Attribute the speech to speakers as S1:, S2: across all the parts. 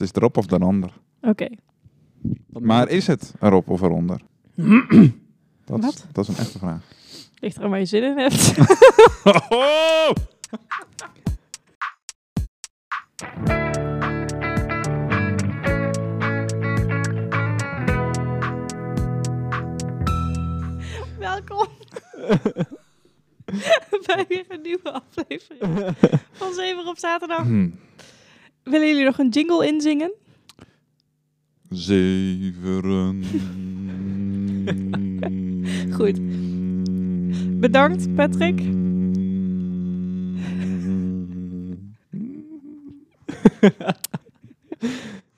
S1: Het is erop of eronder.
S2: Oké.
S1: Maar is het erop of eronder? dat,
S2: Wat?
S1: Is, dat is een echte vraag.
S2: Ligt er aan waar je zin in hebt. Welkom. Bij weer een nieuwe aflevering van Zeven op zaterdag.
S1: Hm.
S2: Willen jullie nog een jingle inzingen?
S1: Zeveren.
S2: Goed. Bedankt, Patrick.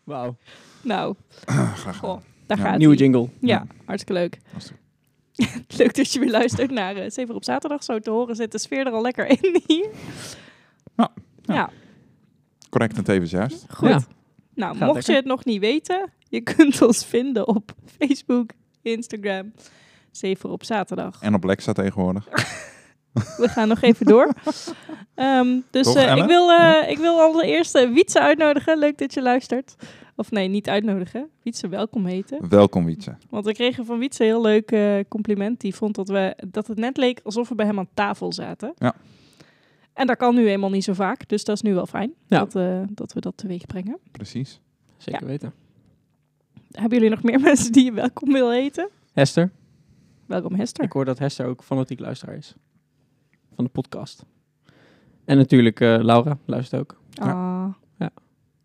S3: Wauw.
S2: Nou,
S1: Graag gedaan.
S2: goh, daar
S1: Ja,
S2: gaat
S3: Nieuwe jingle.
S2: Ja, hartstikke leuk.
S1: Hartstikke.
S2: leuk dat je weer luistert naar eh, Zeven op zaterdag. Zo te horen zit de sfeer er al lekker in hier.
S1: Nou,
S2: ja.
S1: ja. Correct en tevens juist.
S2: Goed.
S3: Ja.
S2: Nou,
S3: Gaat
S2: mocht
S3: lekker.
S2: je het nog niet weten, je kunt ons vinden op Facebook, Instagram, Zeven op zaterdag.
S1: En op Lexa tegenwoordig.
S2: We gaan nog even door. Ehm, dus
S1: Toch,
S2: eh, ik,
S1: Ellen?
S2: wil, eh, ik wil als eerste Wietse uitnodigen. Leuk dat je luistert. Of nee, niet uitnodigen. Wietse welkom heten.
S1: Welkom, Wietse.
S2: Want we kregen van Wietse een heel leuk eh, compliment. Die vond dat, we, dat het net leek alsof we bij hem aan tafel zaten.
S1: Ja.
S2: En dat kan nu eenmaal niet zo vaak. Dus dat is nu wel fijn
S3: Ja.
S2: dat, eh, dat we dat teweeg brengen.
S1: Precies.
S3: Zeker weten.
S2: Hebben jullie nog meer mensen die je welkom wil heten?
S3: Hester.
S2: Welkom Hester.
S3: Ik hoor dat Hester ook fanatiek luisteraar is. Van de podcast. En natuurlijk eh, Laura luistert ook.
S1: Ja.
S2: Ah.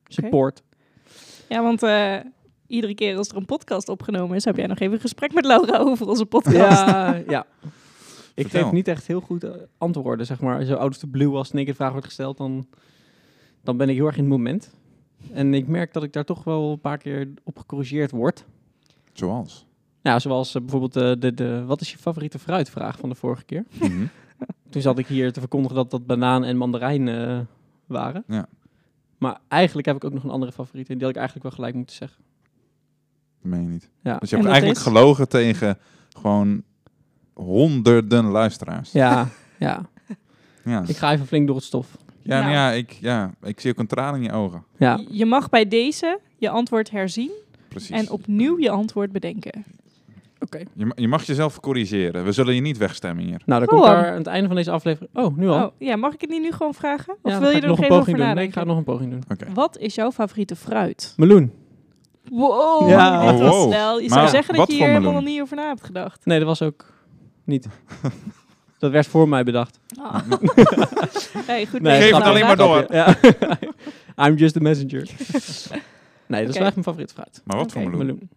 S3: Support.
S2: Ja, want eh, iedere keer als er een podcast opgenomen is, heb jij nog even een gesprek met Laura over onze podcast.
S3: Ja, ja. Ik
S1: Vertel.
S3: geef niet echt heel goed eh, antwoorden, zeg maar. Zo out of the blue als in één keer de vraag wordt gesteld, dan, dan ben ik heel erg in het moment. En ik merk dat ik daar toch wel een paar keer op gecorrigeerd word.
S1: Zoals.
S3: Nou, zoals eh, bijvoorbeeld eh, de, de wat is je favoriete fruitvraag van de vorige keer.
S1: Mhm.
S3: Toen zat ik hier te verkondigen dat dat banaan en mandarijn eh, waren.
S1: Ja.
S3: Maar eigenlijk heb ik ook nog een andere favoriet. En die had ik eigenlijk wel gelijk moeten zeggen.
S1: Dat meen je niet.
S3: Ja.
S1: Dus je
S2: En
S1: hebt
S2: dat
S1: eigenlijk
S2: is?
S1: gelogen tegen gewoon honderden luisteraars.
S3: Ja, ja.
S1: Ja.
S3: Ik ga even flink door het stof.
S1: Ja, nou
S2: Nou.
S1: ja, ik, ja, ik zie ook een traan in je ogen.
S3: Ja,
S2: Je mag bij deze je antwoord herzien
S1: Precies.
S2: en opnieuw je antwoord bedenken.
S3: oké.
S1: Je, ma- je mag jezelf corrigeren. We zullen je niet wegstemmen hier.
S3: Nou, dan
S2: Gewoon.
S3: komt daar aan het einde van deze aflevering... Oh, nu al?
S2: Oh, ja, mag ik het niet nu gewoon vragen? Of
S3: Ja, dan
S2: wil je
S3: ga ik
S2: er nog
S3: een
S2: even
S3: poging
S2: over
S3: doen? Nee, ik ga
S2: nadenken?
S3: nog een poging doen.
S1: Oké.
S2: Wat is jouw favoriete fruit?
S3: Meloen.
S2: Wow,
S3: Ja.
S2: dit was
S1: Oh, wow.
S2: snel. Je
S1: Maar
S2: zou zeggen dat
S1: wat
S2: je
S1: voor
S2: hier helemaal nog
S1: meloen?
S2: niet over na hebt gedacht.
S3: Nee, dat was ook niet. dat werd voor mij bedacht.
S2: Ah. nee, goed.
S3: Nee,
S1: Geef het
S2: nou,
S1: alleen
S2: laat-
S1: maar door.
S3: Ja. I'm just the messenger. nee, dat is wel echt
S2: Oké.
S3: mijn favoriete fruit.
S1: Maar wat
S2: Oké,
S1: voor meloen?
S3: Meloen.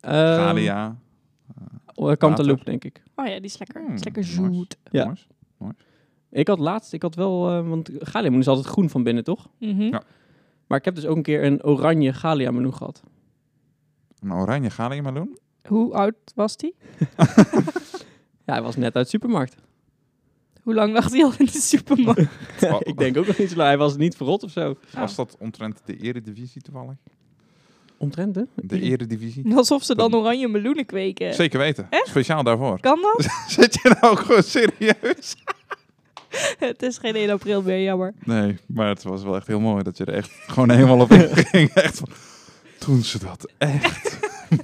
S3: Ehm,
S1: Galia.
S3: oh, Cantaloupe, denk ik.
S2: Oh ja, die is lekker. Die is
S1: Hmm,
S2: lekker
S1: nice.
S2: zoet.
S3: Ja.
S1: Moois.
S3: Ik had laatst, ik had wel, eh, want galiameloen is altijd groen van binnen, toch?
S2: Mhm.
S1: Ja.
S3: Maar ik heb dus ook een keer een oranje galiameloen gehad.
S1: Een oranje galia meloen?
S2: Hoe oud was die?
S3: Ja, hij was net uit de supermarkt.
S2: Hoe lang lag die al in de supermarkt?
S1: Oh.
S3: ik denk ook nog niet zo lang. Hij was niet verrot of zo.
S2: Oh.
S1: Was dat omtrent de eredivisie toevallig?
S3: Omtrent, hè?
S1: De eredivisie?
S2: Alsof ze dan oranje meloenen kweken.
S1: Zeker weten. Speciaal daarvoor.
S2: Kan dat?
S1: Zit je nou gewoon serieus?
S2: het is geen 1 april meer, jammer.
S1: Nee, maar het was wel echt heel mooi dat je er echt gewoon helemaal op in ging. Echt van, toen ze dat echt.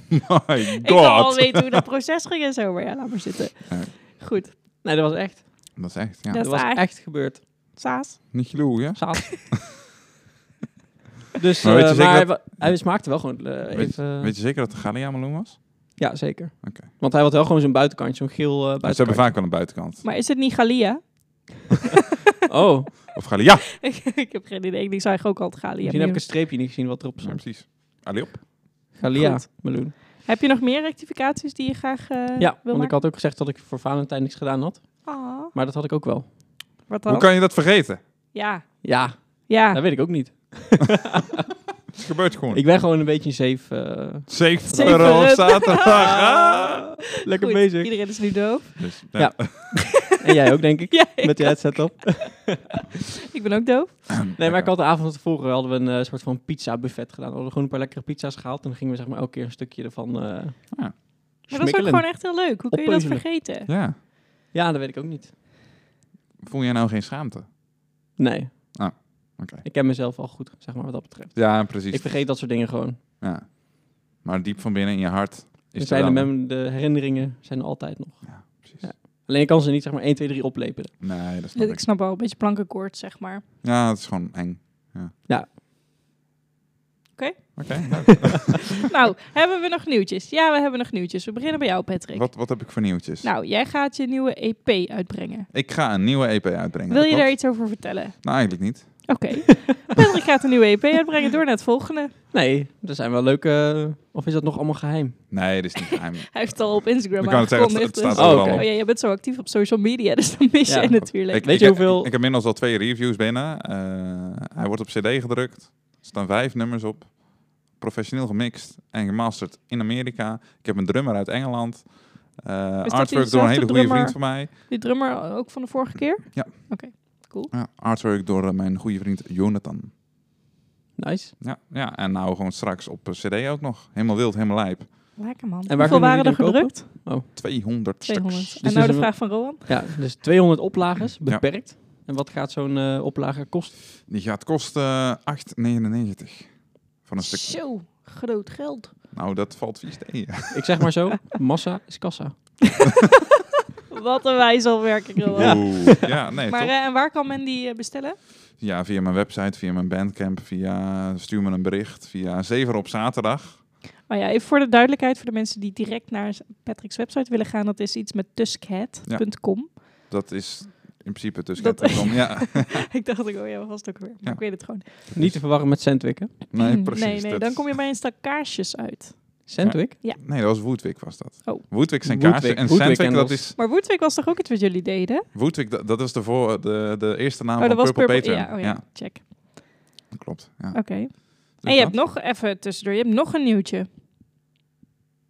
S1: My
S2: Ik wil wel
S1: god.
S2: weten hoe dat proces ging en zo, maar ja, laat maar zitten.
S1: Nee.
S2: Goed.
S3: Nee, dat was echt.
S1: Dat is echt, ja.
S2: Dat
S3: Dat, Eh.
S2: is
S3: was
S2: waar.
S3: echt gebeurd.
S2: Saas?
S1: Niet geloe, ja?
S3: Zaad. dus,
S1: Maar weet je
S3: eh,
S1: zeker
S3: maar wa- hij smaakte wel gewoon eh, even...
S1: Weet je zeker dat het Galia meloen was?
S3: Ja, zeker.
S1: Oké.
S3: Want hij had wel gewoon zo'n buitenkantje, zo'n geel eh,
S1: Ze hebben
S3: buitenkantje.
S1: vaak wel een buitenkant.
S2: Maar is het niet Galia?
S3: Oh,
S1: Of Galia.
S2: ik heb geen idee. Ik denk, zou eigenlijk ook altijd Galia
S3: misschien heb ik
S2: meloenen.
S3: een streepje niet gezien wat erop
S1: Ja,
S3: stond.
S1: precies. Allee op.
S3: Galia,
S2: Goed.
S3: meloen.
S2: Heb je nog meer rectificaties die je graag eh,
S3: Ja,
S2: wil
S3: want ik
S2: maken?
S3: had ook gezegd dat ik voor Valentijn niks gedaan had.
S2: Ah,
S3: Maar dat had ik ook wel.
S2: wat dan?
S1: Hoe kan je dat vergeten?
S2: Ja,
S3: Ja,
S2: ja.
S3: dat weet ik ook niet.
S1: Het gebeurt gewoon.
S3: Ik ben gewoon een beetje een zeef. eh,
S1: Zeker op
S2: Zeker.
S1: zaterdag. Ah.
S3: lekker
S2: Goed,
S3: bezig.
S2: Iedereen is nu doof.
S1: Dus,
S3: Ja. En jij ook, denk ik.
S2: Ja, ik,
S3: Met je headset op.
S2: ik ben ook doof.
S3: Nee, maar ik had de avond van tevoren hadden we een eh, soort van pizza buffet gedaan. We hadden gewoon een paar lekkere pizza's gehaald. En dan gingen we zeg maar elke keer een stukje ervan
S1: Ja.
S3: eh
S2: Maar dat is ook
S3: smikkelen.
S2: gewoon echt heel leuk. Hoe kun je dat
S3: Oppeuzelen.
S2: vergeten?
S1: Ja.
S3: Ja, dat weet ik ook niet.
S1: Voel jij nou geen schaamte?
S3: Nee.
S1: Ah,
S3: Ik ken mezelf al goed, zeg maar, wat dat betreft.
S1: Ja, precies.
S3: Ik vergeet dat soort dingen gewoon.
S1: Ja. Maar diep van binnen in je hart
S3: Er
S1: is
S3: zijn de,
S1: er dan...
S3: mem- de herinneringen zijn er altijd nog.
S1: Ja, precies.
S3: Ja. Alleen ik kan ze niet, zeg maar, 1, 2, 3 oplepelen.
S1: Nee, dat snap
S2: Ik
S1: ik.
S2: snap wel, een beetje plankenkoord, zeg maar.
S1: Ja, het is gewoon eng. Ja.
S3: Ja.
S2: Oké.
S1: Oké. nou,
S2: nou, hebben we nog nieuwtjes? Ja, we hebben nog nieuwtjes. We beginnen bij jou, Patrick.
S1: wat, wat heb ik voor nieuwtjes?
S2: Nou, jij gaat je nieuwe EP uitbrengen.
S1: Ik ga een nieuwe EP uitbrengen.
S2: Wil
S1: dat
S2: je
S1: klopt.
S2: daar iets over vertellen?
S1: Nou, eigenlijk niet.
S2: Oké. Patrick gaat een nieuwe EP uitbrengen door naar het volgende.
S3: Nee, er zijn wel leuke... eh, Of is dat nog allemaal geheim?
S1: Nee, dit is niet geheim.
S2: Hij heeft het al op Instagram
S1: Ik wou het zeggen, het-
S2: aangekondigd.
S1: het staat
S2: dus-
S3: overal
S2: oh,
S3: op.
S2: ja, je bent zo actief op social media, dus dan mis
S3: Ja.
S2: je natuurlijk.
S1: Ik,
S3: Weet
S1: ik
S3: je
S1: heb-
S3: hoeveel-
S1: Ik, heb inmiddels al twee reviews binnen. Eh, hij wordt op cd gedrukt. Er staan vijf nummers op. Professioneel gemixt en gemasterd in Amerika. Ik heb een drummer uit Engeland. Eh, artwork door een
S2: diezelfde
S1: hele goede
S2: drummer?
S1: vriend van mij.
S2: Die drummer ook van de vorige keer?
S1: Ja.
S2: Oké, cool.
S1: Ja, artwork door eh, mijn goede vriend Jonathan.
S3: Nice.
S1: Ja, ja, en nou gewoon straks op eh, cd ook nog. Helemaal wild, helemaal lijp.
S2: Lekker man. Hoeveel
S3: waar kunnen
S2: waren er
S3: jullie dan
S2: gedrukt?
S1: 200, stuks.
S2: 200.
S3: Dus
S2: en nou
S3: is
S2: de
S3: er-
S2: vraag van Rowan.
S3: Ja, dus 200 oplages, beperkt. En wat gaat zo'n eh, oplage kosten?
S1: Die gaat kosten eh, 8,99. Van een stuk.
S2: Zo, groot geld.
S1: Nou, dat valt vies tegen.
S3: Ik zeg maar zo, massa is kassa.
S2: Wat een wijzelwerking Rowan.
S1: Oeh. Ja, nee,
S2: Maar
S1: toch?
S2: eh, en waar kan men die eh, bestellen?
S1: Ja, via mijn website, via mijn bandcamp, via stuur me een bericht, via Zever op zaterdag.
S2: Oh ja, even voor de duidelijkheid, voor de mensen die direct naar Patrick's website willen gaan, dat is iets met tuskhead.com.
S1: Dat is in principe tussen
S2: Dat-
S1: Kettenkom. Ja,
S2: ik dacht, ook, oh ja, wat was het ook weer? Maar
S1: Ja.
S2: ik weet het gewoon.
S3: Niet te verwarren met Sandwick, hè?
S1: nee,
S2: Hmm,
S1: precies.
S2: Nee, nee,
S1: dat
S2: dan
S1: is-
S2: kom je bij een stak kaarsjes uit.
S3: Sandwick?
S1: Nee, dat was Woodwick was dat.
S2: Oh.
S1: Woodwick zijn
S3: Woodwick,
S1: kaarsen en
S3: Woodwick
S1: Sandwick, dat
S3: candles.
S1: is...
S2: Maar Woodwick was toch ook iets wat jullie deden?
S1: Woodwick, dat, dat is de, voor, de, de eerste naam
S2: oh, dat
S1: Nou, van
S2: was
S1: Purple,
S2: Purple.
S1: Patreon.
S2: Ja, oh ja, check.
S1: klopt. Ja.
S2: Oké.
S1: Dus
S2: En je hebt
S1: dat.
S2: nog, even tussendoor, je hebt nog een nieuwtje.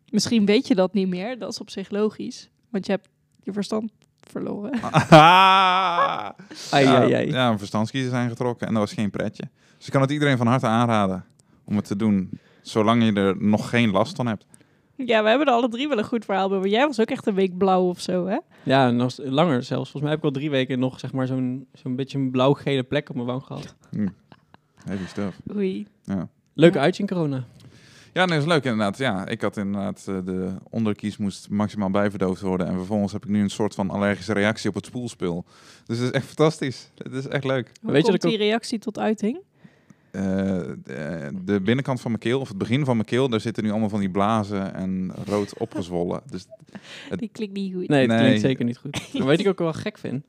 S2: Misschien weet je dat niet meer, dat is op zich logisch. Want je hebt je verstand verloren.
S1: Ah.
S3: Ai,
S1: ja,
S3: ai, ai.
S1: ja, een verstandskiezer zijn getrokken en dat was geen pretje. Dus ik kan het iedereen van harte aanraden om het te doen, zolang je er nog geen last van hebt.
S2: Ja, we hebben er alle drie wel een goed verhaal bij. Maar jij was ook echt een week blauw of zo, hè?
S3: Ja, nog s- langer zelfs. Volgens mij heb ik al drie weken nog zeg maar, zo'n zo'n beetje een blauw-gele plek op mijn wang gehad.
S1: Heavy stuff.
S2: Oei.
S3: Leuke
S2: Ja.
S3: uitzien corona.
S1: Ja, nee, dat is leuk inderdaad. Ja, ik had inderdaad eh, de onderkies moest maximaal bijverdoofd worden. En vervolgens heb ik nu een soort van allergische reactie op het spoelspul. Dus het is echt fantastisch. Het is echt leuk.
S2: Hoe
S3: Weet je
S2: komt
S3: dat ik
S2: die reactie tot uiting?
S1: Eh, de, de binnenkant van mijn keel, of het begin van mijn keel, daar zitten nu allemaal van die blazen en rood opgezwollen. Dus Het-
S2: Die klinkt niet goed.
S3: Nee, dat
S1: Nee.
S3: klinkt zeker niet goed. Maar weet ik ook wel gek vind?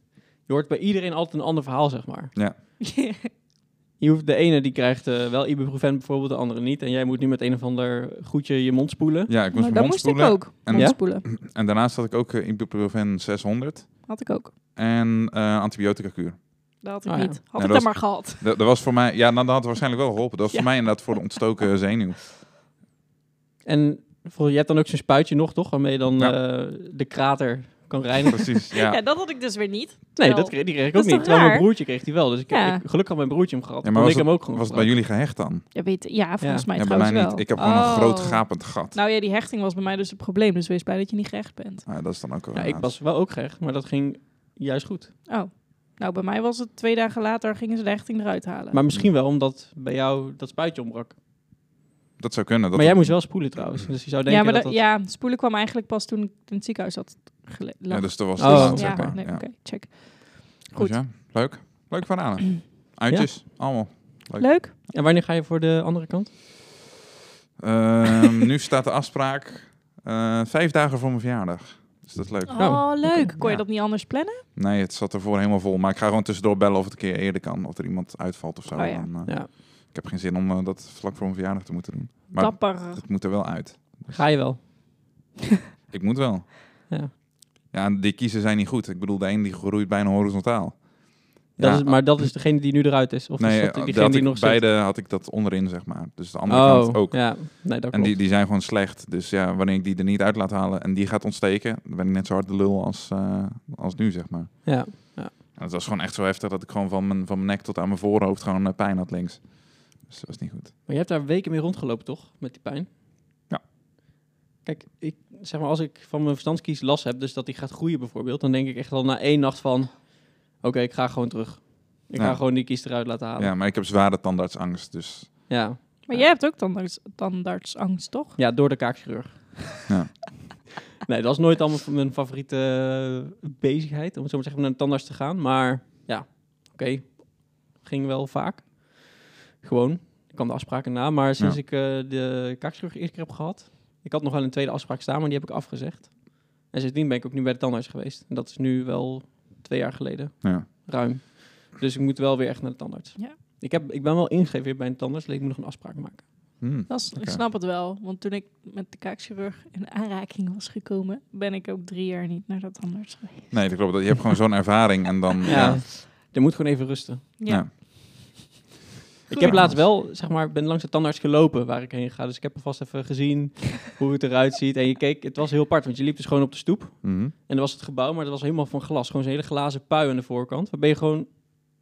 S3: Je hoort bij iedereen altijd een ander verhaal, zeg maar. Je hoeft, de ene die krijgt eh, wel ibuprofen bijvoorbeeld, de andere niet. En jij moet nu met een of ander goedje je mond spoelen.
S1: ja, ik moest mijn
S2: maar Nou, dat
S1: mond
S2: moest ik
S1: spoelen.
S2: ook.
S1: en-
S2: Mond
S3: Ja?
S2: spoelen.
S1: En daarnaast had ik ook eh, ibuprofen 600.
S2: Had ik ook.
S1: en eh antibiotica kuur.
S2: Dat had ik
S3: Oh ja.
S2: niet. Had
S1: dat
S2: ik
S1: was-
S2: dat maar gehad.
S1: Dat, dat was voor mij, ja, nou, dat had waarschijnlijk wel geholpen. Dat was
S2: Ja.
S1: voor mij inderdaad voor de ontstoken zenuw.
S3: En voor, je hebt dan ook zo'n spuitje nog, toch? Waarmee je dan
S1: Ja.
S3: eh, de krater kan reinigen.
S1: Precies,
S2: Ja.
S1: ja.
S2: dat had ik dus weer niet.
S3: Nee,
S2: Terwijl-
S3: dat kreeg, die kreeg ik
S2: Dat
S3: ook
S2: is
S3: niet.
S2: toch
S3: Terwijl mijn
S2: raar?
S3: broertje kreeg die wel. Dus ik,
S2: Ja.
S3: ik- gelukkig had mijn broertje hem gehad.
S1: Ja,
S3: Ja,
S1: maar
S3: ik
S1: was
S3: hem ook gewoon
S1: Was het bij
S3: gebruikt.
S1: jullie gehecht dan?
S2: Ja, weet, ja volgens mij
S1: Ja, bij
S2: trouwens
S1: mij niet.
S2: wel.
S1: Ik heb gewoon een groot
S2: Oh.
S1: gapend gat.
S2: Nou ja, die hechting was bij mij dus het probleem. Dus wees blij dat je niet gehecht bent.
S1: Ah, dat is dan ook wel
S3: Ja, ik
S1: raar.
S3: was wel ook gehecht, maar dat ging juist goed.
S2: Oh. Nou, bij mij was het twee dagen later gingen ze de hechting eruit halen.
S3: Maar misschien wel omdat bij jou dat spuitje ombrak.
S1: Dat zou kunnen. Dat
S3: maar jij moest wel spoelen trouwens. Dus je zou denken
S2: ja, maar dat,
S3: dat, dat...
S2: ja, spoelen kwam eigenlijk pas toen ik in het ziekenhuis had gele-
S1: ja,
S2: lag.
S1: dus dat was
S3: Oh.
S1: te laat,
S2: ja,
S1: zeg maar.
S2: nee,
S1: Ja.
S2: oké, check.
S1: Dus
S2: Goed.
S1: ja, leuk. Leuk verhalen. Uitjes, allemaal. Leuk.
S2: Leuk.
S3: En wanneer ga je voor de andere kant?
S1: Ehm, nu staat de afspraak eh, vijf dagen voor mijn verjaardag. Dus dat is leuk.
S2: Oh,
S3: Oh,
S2: leuk. Kon je
S1: Ja.
S2: dat niet anders plannen?
S1: Nee, het zat ervoor helemaal vol. Maar ik ga gewoon tussendoor bellen of het een keer eerder kan. Of er iemand uitvalt of zo.
S2: Oh ja.
S1: Dan, eh,
S3: Ja.
S1: Ik heb geen zin om eh, dat vlak voor mijn verjaardag te moeten doen. Maar
S2: Dapper.
S1: Het moet er wel uit.
S3: Ga je wel?
S1: Ik moet wel.
S3: Ja.
S1: Ja, en die kiezen zijn niet goed. Ik bedoel, de een die groeit bijna horizontaal.
S3: Dat
S1: Ja,
S3: is, maar dat is degene die nu eruit is? Of
S1: nee,
S3: is dat
S1: eh,
S3: diegene
S1: dat
S3: die
S1: ik-
S3: nog zit?
S1: beide had ik dat onderin, zeg maar. Dus de andere
S3: Oh,
S1: kant ook.
S3: ja. Nee, dat
S1: en
S3: klopt.
S1: die, die zijn gewoon slecht. Dus ja, wanneer ik die er niet uit laat halen en die gaat ontsteken, dan ben ik net zo hard de lul als, eh, als nu, zeg maar.
S3: Ja.
S1: En het was gewoon echt zo heftig dat ik gewoon van mijn, van mijn nek tot aan mijn voorhoofd gewoon eh, pijn had links. Dus dat was niet goed.
S3: Maar je hebt daar weken mee rondgelopen, toch? Met die pijn?
S1: Ja.
S3: Kijk, ik, zeg maar, als ik van mijn verstandskies last heb, dus dat die gaat groeien bijvoorbeeld, dan denk ik echt al na één nacht van, oké, ik ga gewoon terug. Ik
S1: Ja.
S3: ga gewoon die kies eruit laten halen.
S1: Ja,
S3: Ja.
S1: maar ik heb zware tandartsangst, dus
S3: Ja.
S2: Maar jij hebt ook tandarts, tandartsangst, toch?
S3: door de kaakchirurg.
S1: Ja.
S3: nee, dat is nooit allemaal mijn favoriete eh, bezigheid, om het zo maar te zeggen, om naar de tandarts te gaan. Maar ja, oké. Ging wel vaak. Gewoon. Ik kwam de afspraken na. Maar sinds
S1: Ja.
S3: ik eh, de kaakchirurg eerst keer heb gehad, ik had nog wel een tweede afspraak staan, maar die heb ik afgezegd. En sindsdien ben ik ook nu bij de tandarts geweest. En dat is nu wel twee jaar geleden.
S1: ja.
S3: ruim. Dus ik moet wel weer echt naar de tandarts.
S2: Ja.
S3: Ik, heb, ik ben wel ingegeven weer bij een tandarts, alleen ik moet nog een afspraak maken.
S1: Hm.
S2: Dat is,
S1: Oké.
S2: Ik snap het wel, want toen ik met de kaakchirurg in aanraking was gekomen, ben ik ook drie jaar niet naar dat tandarts geweest.
S1: Nee, dat klopt. Je hebt gewoon zo'n ervaring en dan... Ja.
S3: Ja. Er moet gewoon even rusten.
S2: Ja.
S1: Ja.
S3: Ik
S2: Goeie.
S3: heb laatst wel, zeg maar, ben langs de tandarts gelopen waar ik heen ga. Dus ik heb alvast even gezien hoe het eruit ziet. En je keek, het was heel apart, want je liep dus gewoon op de stoep.
S1: Mhm.
S3: En er was het gebouw, maar dat was helemaal van glas. Gewoon zo'n hele glazen pui aan de voorkant. Waarbij je gewoon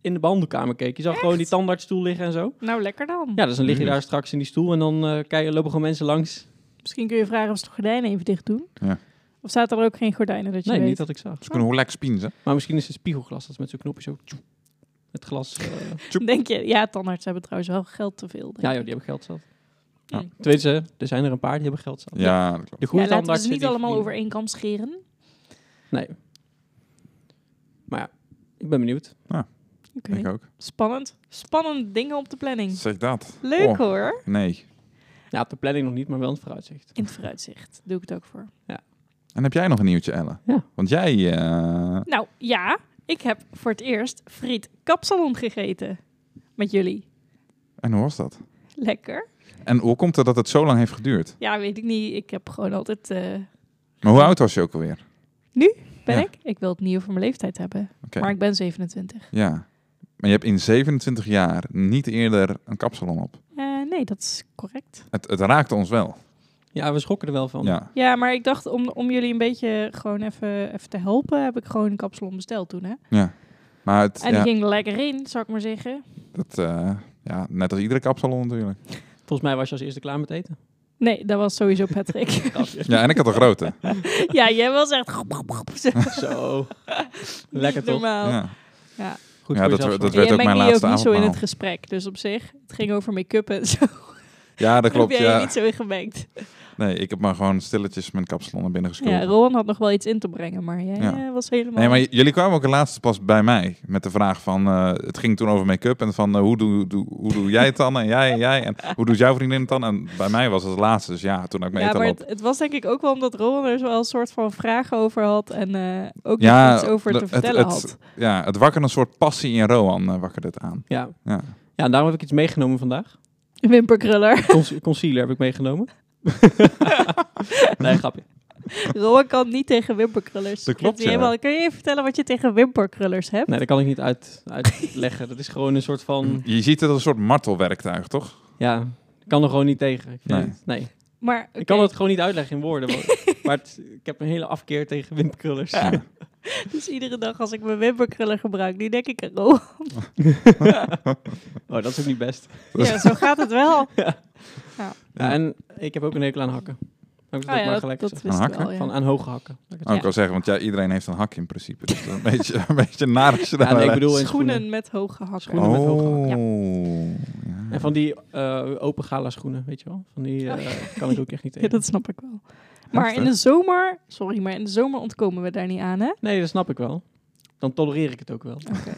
S3: in de behandelkamer keek. Je zag gewoon die tandartsstoel liggen en zo.
S2: Nou, lekker dan.
S3: Ja, dus dan lig je
S1: Heerlijk.
S2: Mm-hmm.
S3: daar straks in die stoel en dan eh kijk, lopen gewoon mensen langs.
S2: Misschien kun je vragen of ze de gordijnen even dicht doen.
S1: Ja.
S2: Of zaten er ook geen gordijnen dat je
S3: Nee,
S2: weet?
S3: niet dat ik zag.
S1: Ze kunnen hoe lekker spien, ze.
S3: Maar misschien is het spiegelglas, dat is met zo'n knopje zo... tjoep, Het glas... eh,
S2: Denk je, ja, tandarts hebben trouwens wel geld te veel. denk
S3: Ja, joh,
S2: ik.
S3: die hebben geld zat.
S1: Ja.
S3: Ja. Tenminste, er zijn er een paar die hebben geld zat.
S1: Ja, dat klopt.
S3: De goede
S2: Ja, laten we
S3: tandartsen
S2: ze niet
S3: die
S2: allemaal over
S3: verdienen-
S2: één kam scheren.
S3: Nee. Maar ja, ik ben benieuwd.
S2: Oké.
S1: Ik ook.
S2: Spannend. Spannende dingen op de planning.
S1: Zeg dat.
S2: Leuk
S1: Oh.
S2: hoor.
S1: Nee.
S3: Ja, op de planning nog niet, maar wel in het vooruitzicht.
S2: In het vooruitzicht doe ik het ook voor.
S1: En heb jij nog een nieuwtje, Elle?
S3: Ja.
S1: Want jij... eh,
S2: Nou ja, ik heb voor het eerst friet kapsalon gegeten. Met jullie.
S1: En hoe was dat?
S2: Lekker.
S1: En hoe komt het dat het zo lang heeft geduurd?
S2: Ja, weet ik niet. Ik heb gewoon altijd... eh,
S1: Maar hoe oud was je ook alweer?
S2: ben
S1: Ja.
S2: ik? Ik wil het niet over mijn leeftijd hebben.
S1: Oké.
S2: Maar ik ben 27.
S1: Ja. Maar je hebt in 27 jaar niet eerder een kapsalon op.
S2: Eh, nee, dat is correct.
S1: Het, het raakte ons wel.
S3: Ja, we schokken er wel van.
S1: Ja.
S2: Ja, maar ik dacht om, om jullie een beetje gewoon even, even te helpen... heb ik gewoon een kapsalon besteld toen, hè.
S1: ja. Maar het,
S2: En
S1: ja,
S2: die ging er lekker in, zou ik maar zeggen.
S1: dat, eh, ja, net als iedere kapsalon natuurlijk.
S3: Volgens mij was je als eerste klaar met eten.
S2: Nee, dat was sowieso Patrick.
S1: Ja, en ik had een grote.
S2: Oh. ja, jij was echt... Zo,
S3: Zo. Lekker
S2: niet
S3: toch?
S2: normaal.
S1: Ja.
S3: Goed
S1: Ja,
S3: voor
S1: dat
S3: jezelf
S1: we- dat
S3: zorgen.
S1: werd
S2: jij
S1: ook
S2: mengde
S1: mijn
S2: je
S1: laatste
S2: ook niet zo in het
S1: avondmaal.
S2: gesprek. Dus op zich, het ging over make-up en zo.
S1: ja, dat klopt.
S2: heb jij je
S1: Ja.
S2: niet zo in gemengd.
S1: Nee, ik heb maar gewoon stilletjes mijn kapsalon naar binnen geschoten.
S2: Ja, Rowan had nog wel iets in te brengen, maar jij
S1: Ja.
S2: eh, was helemaal...
S1: Nee, maar j- jullie kwamen ook laatst pas bij mij met de vraag van... eh, het ging toen over make-up en van eh, hoe, doe, doe- hoe doe jij het dan en jij en jij en hoe doet jouw vriendin het dan? En bij mij was het laatste, dus ja, toen had ik mijn
S2: ja,
S1: eten
S2: maar
S1: al op.
S2: het, het was denk ik ook wel omdat Rowan er zo wel een soort van vraag over had en eh, ook
S1: Ja,
S2: nog iets over
S1: de-
S2: te
S1: het-
S2: vertellen
S1: het-
S2: had.
S1: Ja, het wakkerde een soort passie in Roan, eh, wakkerde het aan.
S3: Ja.
S1: Ja.
S3: ja, en daarom heb ik iets meegenomen vandaag.
S2: Wimperkruller.
S3: Con- concealer heb ik meegenomen. nee, grapje.
S2: Rowan kan niet tegen wimperkrullers.
S1: Dat klopt,
S2: Heeft hij
S1: ja.
S2: helemaal- kun je even vertellen wat je tegen wimperkrullers hebt?
S3: Nee, dat kan ik niet uit, uitleggen. Dat is gewoon een soort van...
S1: Je ziet het als een soort martelwerktuig, toch?
S3: Ja, ik kan er gewoon niet tegen. Ik vind
S1: Nee.
S3: het- nee.
S2: Maar
S3: Ik kan
S2: oké,
S3: het gewoon niet uitleggen in woorden. Maar, maar het- ik heb een hele afkeer tegen windkrullers.
S1: Ja.
S2: dus iedere dag als ik mijn wimperkruller gebruik, nu denk ik aan Rowan.
S3: Oh, dat is ook niet best.
S2: Ja, zo gaat het wel.
S3: Ja, en ik heb ook een hekel aan hakken. Heb ik
S2: Ah
S3: dat ook
S2: ja,
S3: maar
S2: dat,
S3: gelijk
S2: dat
S3: gezegd?
S2: wist ik
S1: hakken?
S2: wel, ja.
S3: Van aan hoge hakken. Laat ik het
S1: Oh, ik wil zeggen, want ja, iedereen heeft een hak in principe. Dus dat is een beetje, een beetje naar als je
S3: Ja,
S1: daar-
S3: nee, ik bedoel in schoenen.
S2: Schoenen met hoge hakken.
S3: Schoenen met hoge
S1: Oh,
S3: hakken.
S1: ja.
S3: En van die eh, open gala schoenen, weet je wel? Van die eh, kan ik ook echt niet
S2: Oh. Ja,
S3: tegen.
S2: dat snap ik wel. Maar in
S1: Heftig.
S2: de zomer, sorry, maar in de zomer ontkomen we daar niet aan, hè?
S3: Nee, dat snap ik wel. Dan tolereer ik het ook wel.
S2: Oké.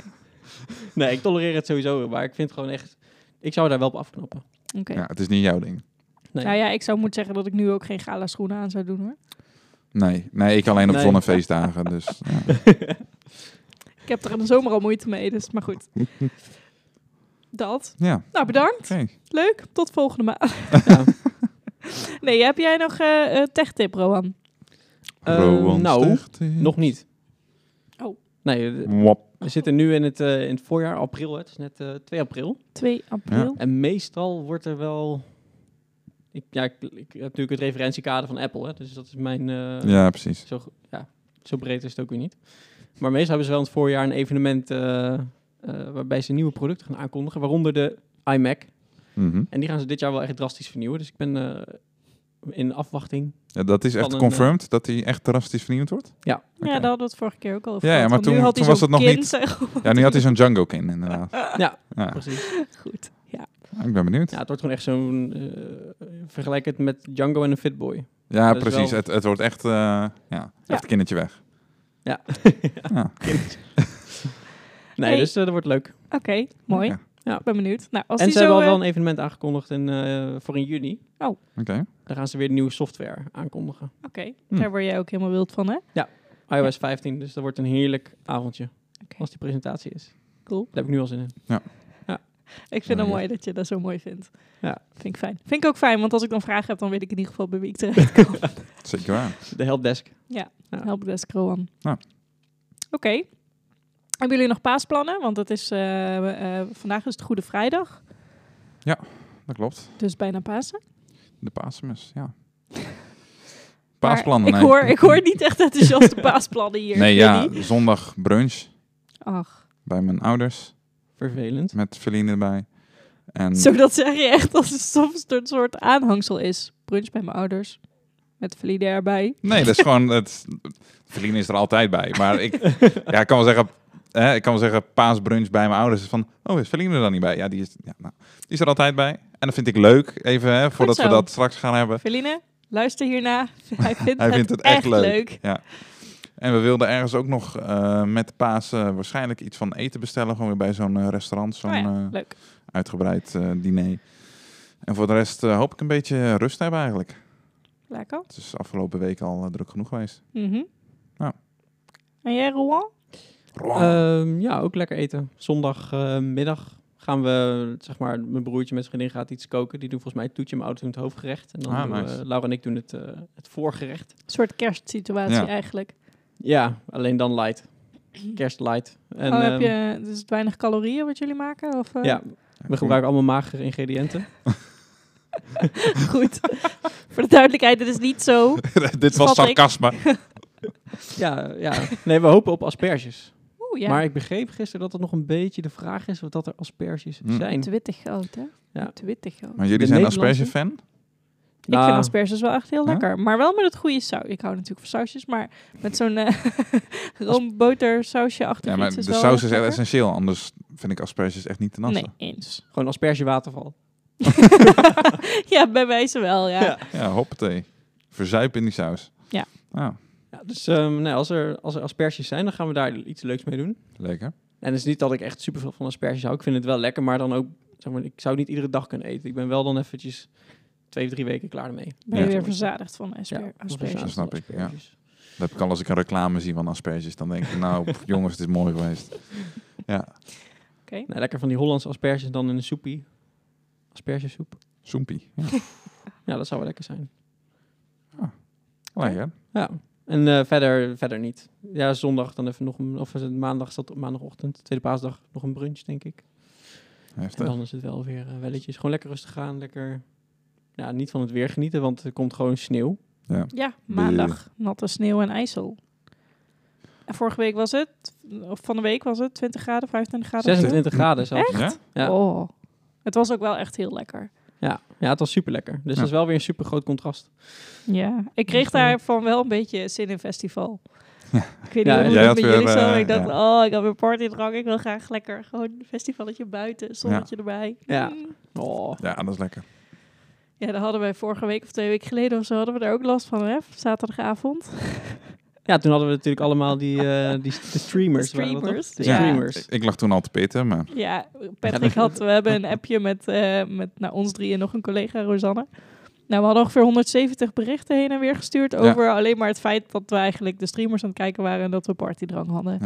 S3: Nee, ik tolereer het sowieso. Maar ik vind het gewoon echt... Ik zou daar wel op afknappen.
S2: oké.
S1: Ja, het is niet jouw ding.
S3: Nee.
S2: Nou ja, ik zou moeten zeggen dat ik nu ook geen gala schoenen aan zou doen, hoor.
S1: Nee, nee ik alleen op
S3: Nee.
S1: zon- en feestdagen. Dus, ja.
S2: Ik heb er in de zomer al moeite mee, dus maar goed. Dat.
S1: ja,
S2: Nou, bedankt.
S1: oké.
S2: Leuk. Tot volgende maand.
S3: Ja.
S2: Nee, heb jij nog eh eh, tech-tip, Roan?
S3: Eh,
S1: Rowan
S3: nou,
S1: Sticht is-
S3: Nog niet.
S2: Oh.
S3: Nee, eh,
S1: Wap.
S3: we zitten nu in het, eh, in het voorjaar, april. hè. Het is net eh, 2 april.
S2: 2 april.
S3: En meestal wordt er wel... Ik, ja, ik, ik heb natuurlijk het referentiekader van Apple, hè, dus dat is mijn... eh,
S1: Ja, precies.
S3: zo, gro- ja, zo breed is het ook weer niet. Maar meestal hebben ze wel in het voorjaar een evenement eh, eh, waarbij ze nieuwe producten gaan aankondigen, waaronder de iMac.
S1: Mhm.
S3: En die gaan ze dit jaar wel echt drastisch vernieuwen. Dus ik ben eh, in afwachting.
S1: Ja, dat is echt
S3: Van een,
S1: confirmed, dat hij echt drastisch vernieuwd wordt?
S3: Ja.
S2: Ja, daar hadden we het vorige keer ook al over
S1: Ja, ja,
S2: gehad,
S1: maar
S2: want
S1: toen-
S2: nu had hij
S1: toen was
S2: zo'n
S1: dat nog
S2: kind
S1: niet-
S2: tegen elkaar.
S1: Ja, nu had hij zo'n Django-kin inderdaad.
S3: Ja,
S1: Ja,
S3: precies.
S2: Goed. Ja.
S1: ik ben benieuwd.
S3: Ja, het wordt gewoon echt zo'n... eh, vergelijk het met Django en een Fitboy.
S1: Ja,
S3: dat is
S1: precies.
S3: wel-
S1: Het, het wordt echt, eh ja, echt kindertje weg.
S3: Ja.
S1: Ja.
S3: Nee,
S2: Hey.
S3: dus eh, dat wordt leuk.
S2: Oké, mooi.
S1: Ja.
S3: Ja.
S2: Ik ben benieuwd. Nou, als
S3: en
S2: die
S3: ze
S2: zo...
S3: hebben
S2: eh,
S3: al wel een evenement aangekondigd in, eh, voor in juni.
S1: Oké.
S3: Daar gaan ze weer nieuwe software aankondigen.
S2: Oké,
S1: Hm.
S2: daar word jij ook helemaal wild van, hè?
S3: iOS 15, dus dat wordt een heerlijk avondje.
S2: Oké.
S3: Als die presentatie is.
S2: Cool.
S3: Daar heb ik nu al zin in.
S2: Ik vind het
S1: Ja.
S2: mooi dat je dat zo mooi vindt.
S3: Ja.
S2: Vind ik fijn. Vind ik ook fijn, want als ik dan vragen heb, dan weet ik in ieder geval bij wie ik terecht kan.
S1: Zeker waar.
S3: De helpdesk. Ja.
S2: Helpdesk Rowan.
S1: Ja.
S2: Oké. Hebben jullie nog paasplannen? Want het is, eh, eh, vandaag is het Goede Vrijdag,
S1: Dat klopt.
S2: dus bijna Pasen.
S1: De paasmus, ja.
S2: Maar
S1: Paasplannen,
S2: ik,
S1: nee.
S2: hoor, ik hoor niet echt enthousiaste paasplannen hier.
S1: Nee,
S2: Ik
S1: ja,
S2: weet niet.
S1: zondag brunch
S2: Ach,
S1: bij mijn ouders
S3: Vervelend.
S1: met Feline erbij. En
S2: zo dat zeg je echt als het soms een soort aanhangsel is. Brunch bij mijn ouders, met Valide erbij.
S1: Nee, dat is gewoon... Het, Feline is er altijd bij. Maar ik, ja, ik kan wel zeggen... Hè, ik kan wel zeggen, paasbrunch bij mijn ouders. is Van, oh, is Feline er dan niet bij? Ja, die is, ja, nou, die is er altijd bij. En dat vind ik leuk, even, hè, voordat we
S2: zo.
S1: dat straks gaan hebben.
S2: Feline, luister hierna. Hij vindt,
S1: Hij
S2: het,
S1: vindt het echt
S2: echt,
S1: leuk.
S2: leuk.
S1: En we wilden ergens ook nog eh, met Pasen waarschijnlijk iets van eten bestellen. Gewoon weer bij zo'n eh, restaurant, zo'n
S2: Oh ja,
S1: eh,
S2: leuk.
S1: uitgebreid eh, diner. En voor de rest eh, hoop ik een beetje rust te hebben eigenlijk.
S2: Lekker.
S1: Het is afgelopen week al eh, druk genoeg geweest.
S2: Mhm.
S1: Ja.
S2: En jij, Rowan?
S3: Ehm, ja, ook lekker eten. Zondagmiddag gaan we, zeg maar, mijn broertje met zijn vriendin gaat iets koken. Die doen volgens mij het toetje, mijn ouders doen het hoofdgerecht. En dan
S1: Ah,
S3: doen we-
S1: nice.
S3: Laura en ik doen het, eh, het voorgerecht.
S2: Een soort kerstsituatie
S1: Ja.
S2: eigenlijk.
S3: Ja, alleen dan light. Kerstlight. En,
S2: oh, heb
S3: ehm,
S2: je dus weinig calorieën wat jullie maken? Of, eh,
S3: Ja, we gebruiken allemaal magere ingrediënten.
S2: Goed. Voor de duidelijkheid, het is niet zo.
S1: Dit was
S2: Schat ik.
S1: sarcasme.
S3: ja, ja. Nee, we hopen op asperges.
S2: Oeh ja,
S3: Maar ik begreep gisteren dat het nog een beetje de vraag is of dat er asperges
S1: Hm.
S3: zijn.
S2: twittig groot hè?
S3: Ja.
S2: Twittig groot.
S1: Maar jullie
S3: De
S1: zijn
S3: Nederlandse?
S1: asperge-fan?
S2: Ik
S3: Nou,
S2: vind asperges wel echt heel
S1: Ah. Ja?
S2: lekker. Maar wel met het goede saus. Ik hou natuurlijk van sausjes, maar met zo'n eh roomboter sausje achter
S1: Ja, maar de
S2: iets is wel
S1: saus is echt
S2: lekker.
S1: essentieel. Anders vind ik asperges echt niet te nassen.
S2: Nee, eens.
S3: gewoon aspergewaterval.
S2: ja, bij wijze wel, ja.
S3: Ja.
S1: Ja, hoppatee. Verzuip in die saus.
S2: Ja.
S1: Nou,
S3: Ja, dus ehm, nee, als, er, als er asperges zijn, dan gaan we daar iets leuks mee doen.
S1: lekker.
S3: En het is niet dat ik echt super veel van asperges hou. Ik vind het wel lekker, maar dan ook, zeg maar, ik zou het niet iedere dag kunnen eten. Ik ben wel dan eventjes twee of drie weken klaar ermee.
S2: Ben
S1: Ja.
S2: je weer verzadigd van asper-
S3: Ja,
S2: asperges.
S1: Dat snap ik, ja.
S3: Asperges.
S1: Dat heb ik al als ik een reclame zie van asperges. Dan denk ik, nou pff, jongens, het is mooi geweest.
S3: Nee, lekker van die Hollandse asperges dan in een soepie. Aspergesoep.
S1: Soempie. Ja.
S3: Ja, dat zou wel lekker zijn.
S1: Lekker.
S3: Ja. En eh, verder, verder niet. Ja, zondag dan even nog een, of is het maandag, zat maandagochtend, tweede paasdag, nog een brunch, denk ik. En
S1: Heftig.
S3: dan is het wel weer eh, welletjes. Gewoon lekker rustig gaan, lekker... Ja, niet van het weer genieten, want er komt gewoon sneeuw.
S2: Ja, maandag. Natte sneeuw en ijsel. En vorige week was het, of van de week was het, 20 graden, 25 graden. of zo.
S3: 26 graden zelfs.
S1: Ja?
S3: Ja.
S2: Oh. Het was ook wel echt heel lekker.
S3: Ja, ja het was super lekker. Dus dat is wel weer een super groot contrast.
S2: Ja, ik kreeg
S3: Dus, eh,
S2: daarvan wel een beetje zin in festival.
S1: Ja.
S2: Ik weet niet
S3: Ja,
S2: hoe
S1: jij
S2: het
S1: had
S2: met
S1: weer,
S2: jullie zo.
S1: eh,
S2: Ik dacht, oh, ik had weer partydrank. Ik wil graag lekker gewoon een festivalletje buiten, zonnetje erbij.
S3: Ja.
S2: Mm.
S3: Oh.
S1: Ja, dat is lekker.
S2: Ja, daar hadden wij vorige week of twee weken geleden of zo, hadden we daar ook last van, hè? Zaterdagavond.
S3: Ja, toen hadden we natuurlijk allemaal die, eh, die de streamers.
S2: De
S3: waren dat
S2: streamers,
S3: toch? De
S2: ja.
S3: streamers.
S1: Ik lag toen al te pitten, maar
S2: Ja, Patrick had, we hebben een appje met, eh, met nou, ons drie en nog een collega, Rosanne. Nou, we hadden ongeveer 170 berichten heen en weer gestuurd over alleen maar het feit dat we eigenlijk de streamers aan het kijken waren en dat we partydrang hadden.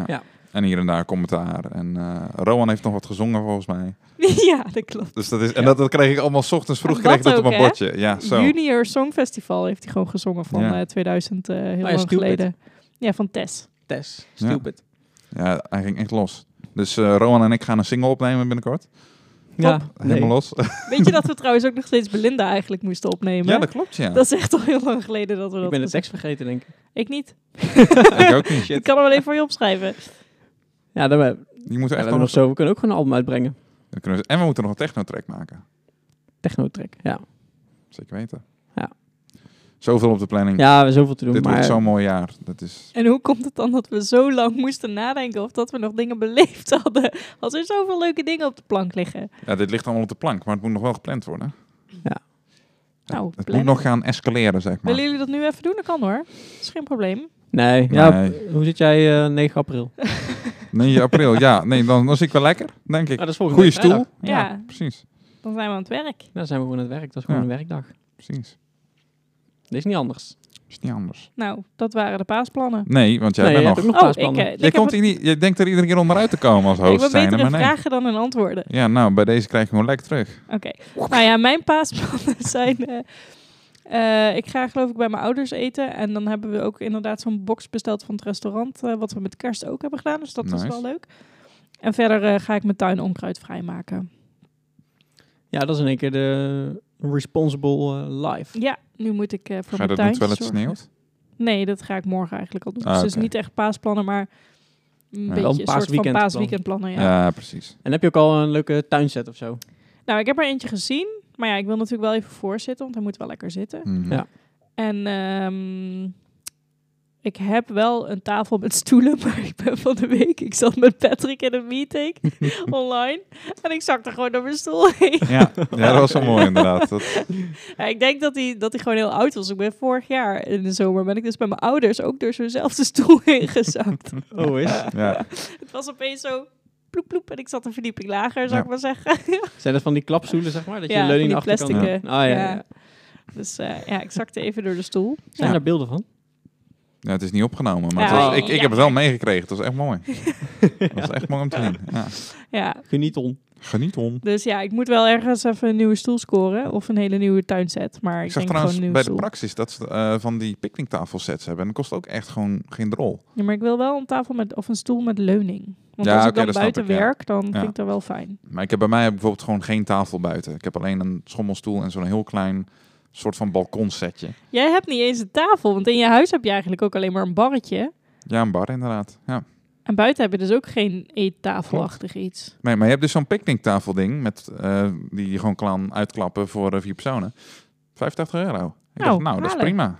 S1: En hier en daar commentaar. En eh Rowan heeft nog wat gezongen volgens mij.
S2: ja, dat klopt.
S1: Dus dat is, en
S3: Ja. Oh,
S1: dat, dat kreeg ik allemaal 's ochtends vroeg
S2: En
S1: kreeg ik
S2: dat
S1: dat op
S2: ook,
S1: mijn
S2: hè?
S1: bordje. Ja, zo.
S2: Junior Songfestival heeft hij gewoon gezongen van
S1: Ja.
S2: eh, 2000, eh, heel
S3: ja,
S2: lang
S3: Stupid.
S2: geleden. Ja, van Tess.
S3: Tess,
S1: Ja.
S3: stupid.
S1: Ja, hij ging echt los. Dus eh, Rowan en ik gaan een single opnemen binnenkort.
S3: Ja, nee.
S1: Helemaal los.
S2: Weet je dat we trouwens ook nog steeds Belinda eigenlijk moesten opnemen?
S1: ja, dat klopt, ja.
S2: Dat is echt al heel lang geleden dat we dat
S3: Ik ben de
S2: gezien-
S3: tekst vergeten, denk ik.
S2: Ik niet.
S1: ik ook niet.
S2: Ik kan hem alleen voor je opschrijven.
S3: Ja, dan, we, ja,
S1: Die moeten
S3: we
S1: we echt
S3: hebben nog
S1: nog...
S3: zo. We kunnen ook gewoon een album uitbrengen.
S1: Dan kunnen we- En we moeten nog een techno-track maken.
S3: Technotrack, ja.
S1: Zeker weten.
S3: Ja.
S1: Zoveel op de planning.
S3: Ja, zoveel te doen.
S1: Dit
S3: maar
S1: wordt zo'n mooi jaar. Dat is...
S2: En hoe komt het dan dat we zo lang moesten nadenken of dat we nog dingen beleefd hadden? Als er zoveel leuke dingen op de plank liggen.
S1: Ja, dit ligt allemaal op de plank, maar het moet nog wel gepland worden.
S3: Ja.
S2: Nou,
S1: het moet
S2: plannen.
S1: nog gaan escaleren, zeg maar.
S2: Willen jullie dat nu even doen? Dat kan hoor. Dat is geen probleem.
S3: Nee, Ja,
S1: Nee.
S3: hoe zit jij eh, 9 april? Ah,
S1: 9 april, ja. Nee, dan, dan zit ik wel lekker, denk ik.
S3: Ah, Oh, dat is volgende
S1: Goede
S3: week
S1: stoel.
S3: vrijdag.
S1: Ja,
S2: Ja.
S1: precies.
S2: Dan zijn we aan het werk.
S3: Ja, dan zijn we gewoon aan het werk. Dat is gewoon
S1: Ja.
S3: een werkdag.
S1: Precies.
S3: Dat is niet anders.
S1: Is niet anders.
S2: Nou, dat waren de paasplannen.
S1: Nee, want jij
S3: nee,
S1: bent
S3: je
S1: nog...
S3: hebt ook nog
S2: oh, ik,
S3: paasplannen.
S2: eh, ik
S1: Jij
S2: heb
S1: komt
S2: het-
S1: hier niet... Je denkt er iedere keer onderuit te komen als
S2: ik
S1: host
S2: ben
S1: zijn,
S2: beter
S1: maar
S2: in
S1: nee.
S2: vragen dan in antwoorden.
S1: Ja, nou, bij deze krijg je gewoon lek terug.
S2: Oké. Nou ja, mijn paasplannen zijn... eh, eh, ik ga geloof ik bij mijn ouders eten. En dan hebben we ook inderdaad zo'n box besteld van het restaurant. eh, wat we met kerst ook hebben gedaan. Dus dat was
S1: Nice.
S2: wel leuk. En verder eh, ga ik mijn tuin onkruid vrijmaken.
S3: Ja, dat is in één keer de responsible eh, life.
S2: Ja, nu moet ik eh, voor
S1: Ga je
S2: mijn
S1: dat doen
S2: tuin
S1: terwijl het
S2: zorgen.
S1: sneeuwt?
S2: Nee, dat ga ik morgen eigenlijk al doen.
S1: Ah,
S2: dus het
S1: oké.
S2: is niet echt paasplannen, maar een
S1: Ja.
S2: beetje
S1: Wel
S3: een
S2: een soort van
S3: paasweekendplan.
S2: paasweekendplannen. Ja.
S1: Ja, precies.
S3: En heb je ook al een leuke tuinset of zo?
S2: Nou, ik heb er eentje gezien, maar ja, ik wil natuurlijk wel even voorzitten, want hij moet wel lekker zitten.
S1: Mhm.
S3: Ja.
S2: En ehm, ik heb wel een tafel met stoelen, maar ik ben van de week, ik zat met Patrick in een meeting online en ik zakte gewoon door mijn stoel heen.
S1: Ja. ja, dat was wel mooi inderdaad. Dat,
S2: Ja, ik denk dat hij, dat hij gewoon heel oud was. Ik ben vorig jaar in de zomer, ben ik dus bij mijn ouders ook door zo'nzelfde stoel heen gezakt.
S3: Oh, is.
S1: ja.
S2: Het was opeens zo ploep ploep en ik zat een verdieping lager, zou
S1: Ja.
S2: ik maar zeggen.
S3: Zijn dat van die klapstoelen, zeg maar? Dat je
S2: Ja,
S3: de leuning
S2: van die
S3: achter kan...
S2: plastic, eh,
S3: Ah, ja, ja.
S2: ja. Dus eh, ja, ik zakte even door de stoel.
S3: Zijn
S1: Ja.
S3: daar beelden van?
S1: ja, het is niet opgenomen, maar het
S2: Ja,
S1: was- ik, ik
S2: ja.
S1: heb het wel meegekregen. Het was echt mooi. Het was echt mooi om te zien. Ja.
S2: Ja,
S3: Geniet on.
S1: Geniet om.
S2: dus ja, ik moet wel ergens even een nieuwe stoel scoren of een hele nieuwe tuinset. Maar ik,
S1: Ik zag
S2: denk gewoon
S1: trouwens
S2: een
S1: bij
S2: nieuwe
S1: de
S2: stoel.
S1: praxis dat ze eh, van die picknicktafelsets hebben. En dat kost ook echt gewoon geen drol.
S2: Ja, maar ik wil wel een tafel met of een stoel met leuning. Want
S1: Ja,
S2: als ik
S1: oké,
S2: dan
S1: dat snap
S2: buiten
S1: ik, ja.
S2: werk, dan
S1: Ja.
S2: vind ik dat wel fijn.
S1: Maar ik heb bij mij bijvoorbeeld gewoon geen tafel buiten. Ik heb alleen een schommelstoel en zo'n heel klein soort van balkonsetje.
S2: Jij hebt niet eens een tafel, want in je huis heb je eigenlijk ook alleen maar een barretje.
S1: Ja, een bar inderdaad. Ja.
S2: En buiten heb je dus ook geen eettafelachtig iets.
S1: Nee, maar je hebt dus zo'n picknicktafelding met, eh, die je gewoon kan uitklappen voor eh, vier personen. 85 euro. Ik
S2: Nou,
S1: dacht, nou, dat is
S2: halen.
S1: prima.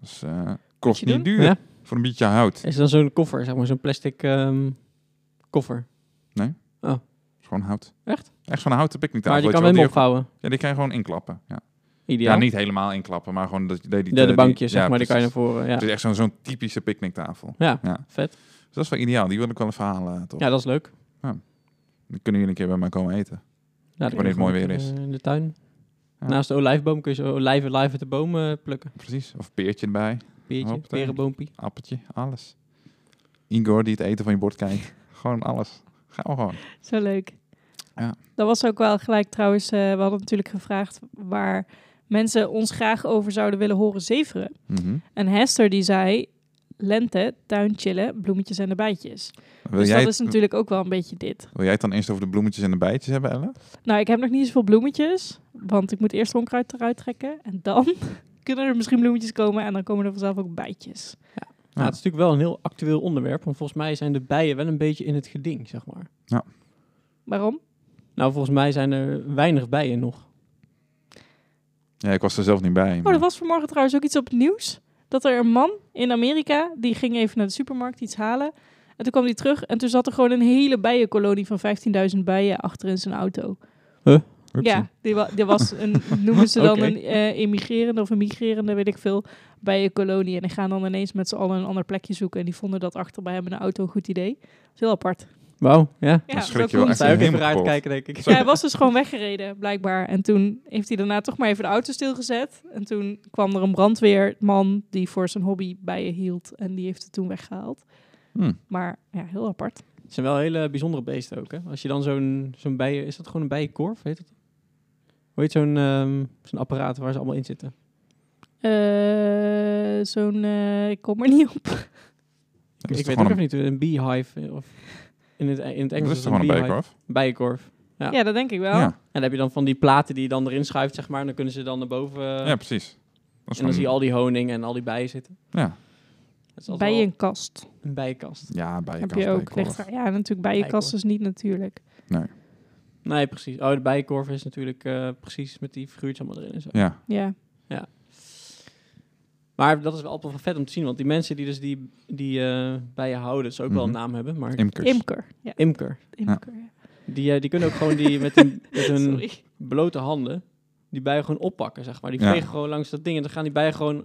S1: Dus eh, kost
S2: je
S1: niet
S2: doen.
S1: duur
S3: Ja.
S1: voor een beetje hout. Het
S3: Is er dan zo'n koffer, zeg maar, zo'n plastic ehm, koffer?
S1: is gewoon hout.
S3: Echt?
S1: Echt zo'n houten picknicktafel.
S3: maar
S1: weet je
S3: die kan
S1: wel,
S3: hem
S1: die
S3: opvouwen.
S1: ook- Ja, die kan je gewoon inklappen. Ja.
S3: Ideaal.
S1: Ja, niet eh, helemaal inklappen, maar gewoon dat je deed
S3: de, de bankjes, zeg maar, die kan je naar
S1: ervoor.
S3: voren. Ja.
S1: Het is echt zo'n zo'n typische picknicktafel.
S3: Ja,
S1: Ja.
S3: vet.
S1: Dus dat is wel ideaal. Die wil ik wel even halen, eh, toch?
S3: Ja, dat is leuk.
S1: Dan kunnen jullie een keer bij mij komen eten.
S3: Ja, dan
S1: Wanneer het mooi
S3: kun je
S1: weer is.
S3: gewoon, eh, In de tuin.
S1: Ja.
S3: Naast de olijfboom kun je zo olijven live uit de boom eh, plukken.
S1: Precies. Of peertje erbij,
S3: Peertje,
S1: Hoppatee.
S3: perenboompie.
S1: appeltje, alles. Igor die het eten van je bord kijkt. gewoon alles. Gaan we gewoon.
S2: Zo leuk.
S1: Ja.
S2: Dat was ook wel gelijk trouwens. eh, we hadden natuurlijk gevraagd waar mensen ons graag over zouden willen horen zeveren.
S1: Mhm.
S2: En Hester die zei, lente, tuin chillen, bloemetjes en de bijtjes.
S1: Wil,
S2: dus
S1: jij,
S2: dat
S1: het-
S2: is natuurlijk ook wel een beetje dit.
S1: wil jij het dan eerst over de bloemetjes en de bijtjes hebben, Ellen?
S2: Nou, ik heb nog niet zoveel bloemetjes, want ik moet eerst onkruid eruit trekken. En dan kunnen er misschien bloemetjes komen en dan komen er vanzelf ook bijtjes.
S1: Ja.
S3: Nou, het is natuurlijk wel een heel actueel onderwerp, want volgens mij zijn de bijen wel een beetje in het geding, zeg maar.
S2: Waarom?
S3: Nou, volgens mij zijn er weinig bijen nog.
S1: Ja, ik was er zelf niet bij.
S2: Oh,
S1: maar-
S2: er was vanmorgen trouwens ook iets op het nieuws. Dat er een man in Amerika, die ging even naar de supermarkt iets halen. En toen kwam hij terug en toen zat er gewoon een hele bijenkolonie van 15.000 bijen achter in zijn auto.
S1: Oepsie.
S2: Ja, die, wa- die was een, noemen ze dan
S3: Oké.
S2: een eh, immigrerende of een migrerende, weet ik veel, bij een kolonie. En die gaan dan ineens met z'n allen een ander plekje zoeken. En die vonden dat achter bij hem in de auto een goed idee. Dat is heel apart.
S3: Wauw, ja.
S2: Ja,
S1: Dan schrik je
S2: zo
S1: wel
S2: komt
S1: echt
S3: Zou je ook even
S1: helemaal
S3: raar
S1: kapot.
S3: kijken, denk ik.
S2: Ja, hij was dus gewoon weggereden, blijkbaar. En toen heeft hij daarna toch maar even de auto stilgezet. En toen kwam er een brandweerman die voor zijn hobby bijen hield. En die heeft het toen weggehaald.
S1: Hm.
S2: Maar ja, heel apart.
S3: Het zijn wel hele bijzondere beesten ook, hè. Als je dan zo'n zo'n bijen... Is dat gewoon een bijenkorf, heet het? Hoe heet zo'n ehm, zo'n apparaat waar ze allemaal in zitten?
S2: Eh, Zo'n, eh, ik kom er niet op.
S1: Dat
S3: Ik,
S1: is
S3: ik
S1: toch
S3: weet ook
S1: gewoon
S3: even niet, een beehive eh, of in het, in
S1: een-
S3: het Engels
S1: Dat is
S3: is
S1: toch gewoon
S3: het een
S1: een
S3: beehive.
S1: bijkorf?
S3: Bijenkorf. Ja.
S2: Ja. dat denk ik wel.
S1: Ja.
S3: En dan heb je dan van die platen die je dan erin schuift, zeg maar. En dan kunnen ze dan naar boven. eh,
S1: ja, precies. Dat is
S3: en
S1: gewoon-
S3: dan zie je al die honing en al die bijen zitten.
S1: Ja,
S3: Dat is altijd wel
S2: Bijenkast
S3: een bijenkast.
S1: ja bijenkast,
S2: heb je ook.
S1: bijenkorf.
S2: Ligt er- ja, natuurlijk bijenkast is niet natuurlijk.
S3: Nee, precies. Oh, de bijenkorf is natuurlijk eh, precies met die figuurtjes allemaal erin en zo.
S1: Ja,
S2: Ja.
S3: Maar dat is wel altijd wel vet om te zien, want die mensen die dus die, die eh, bij je houden, dus ook wel een
S1: Mhm.
S3: naam hebben, maar
S1: Imkers.
S2: Imker. Ja,
S3: imker.
S2: imker. ja.
S3: Die, eh, die kunnen ook gewoon die met hun, met hun
S2: Sorry.
S3: blote handen die bijen gewoon oppakken, zeg maar. Die
S1: Ja.
S3: vegen gewoon langs dat ding en dan gaan die bijen gewoon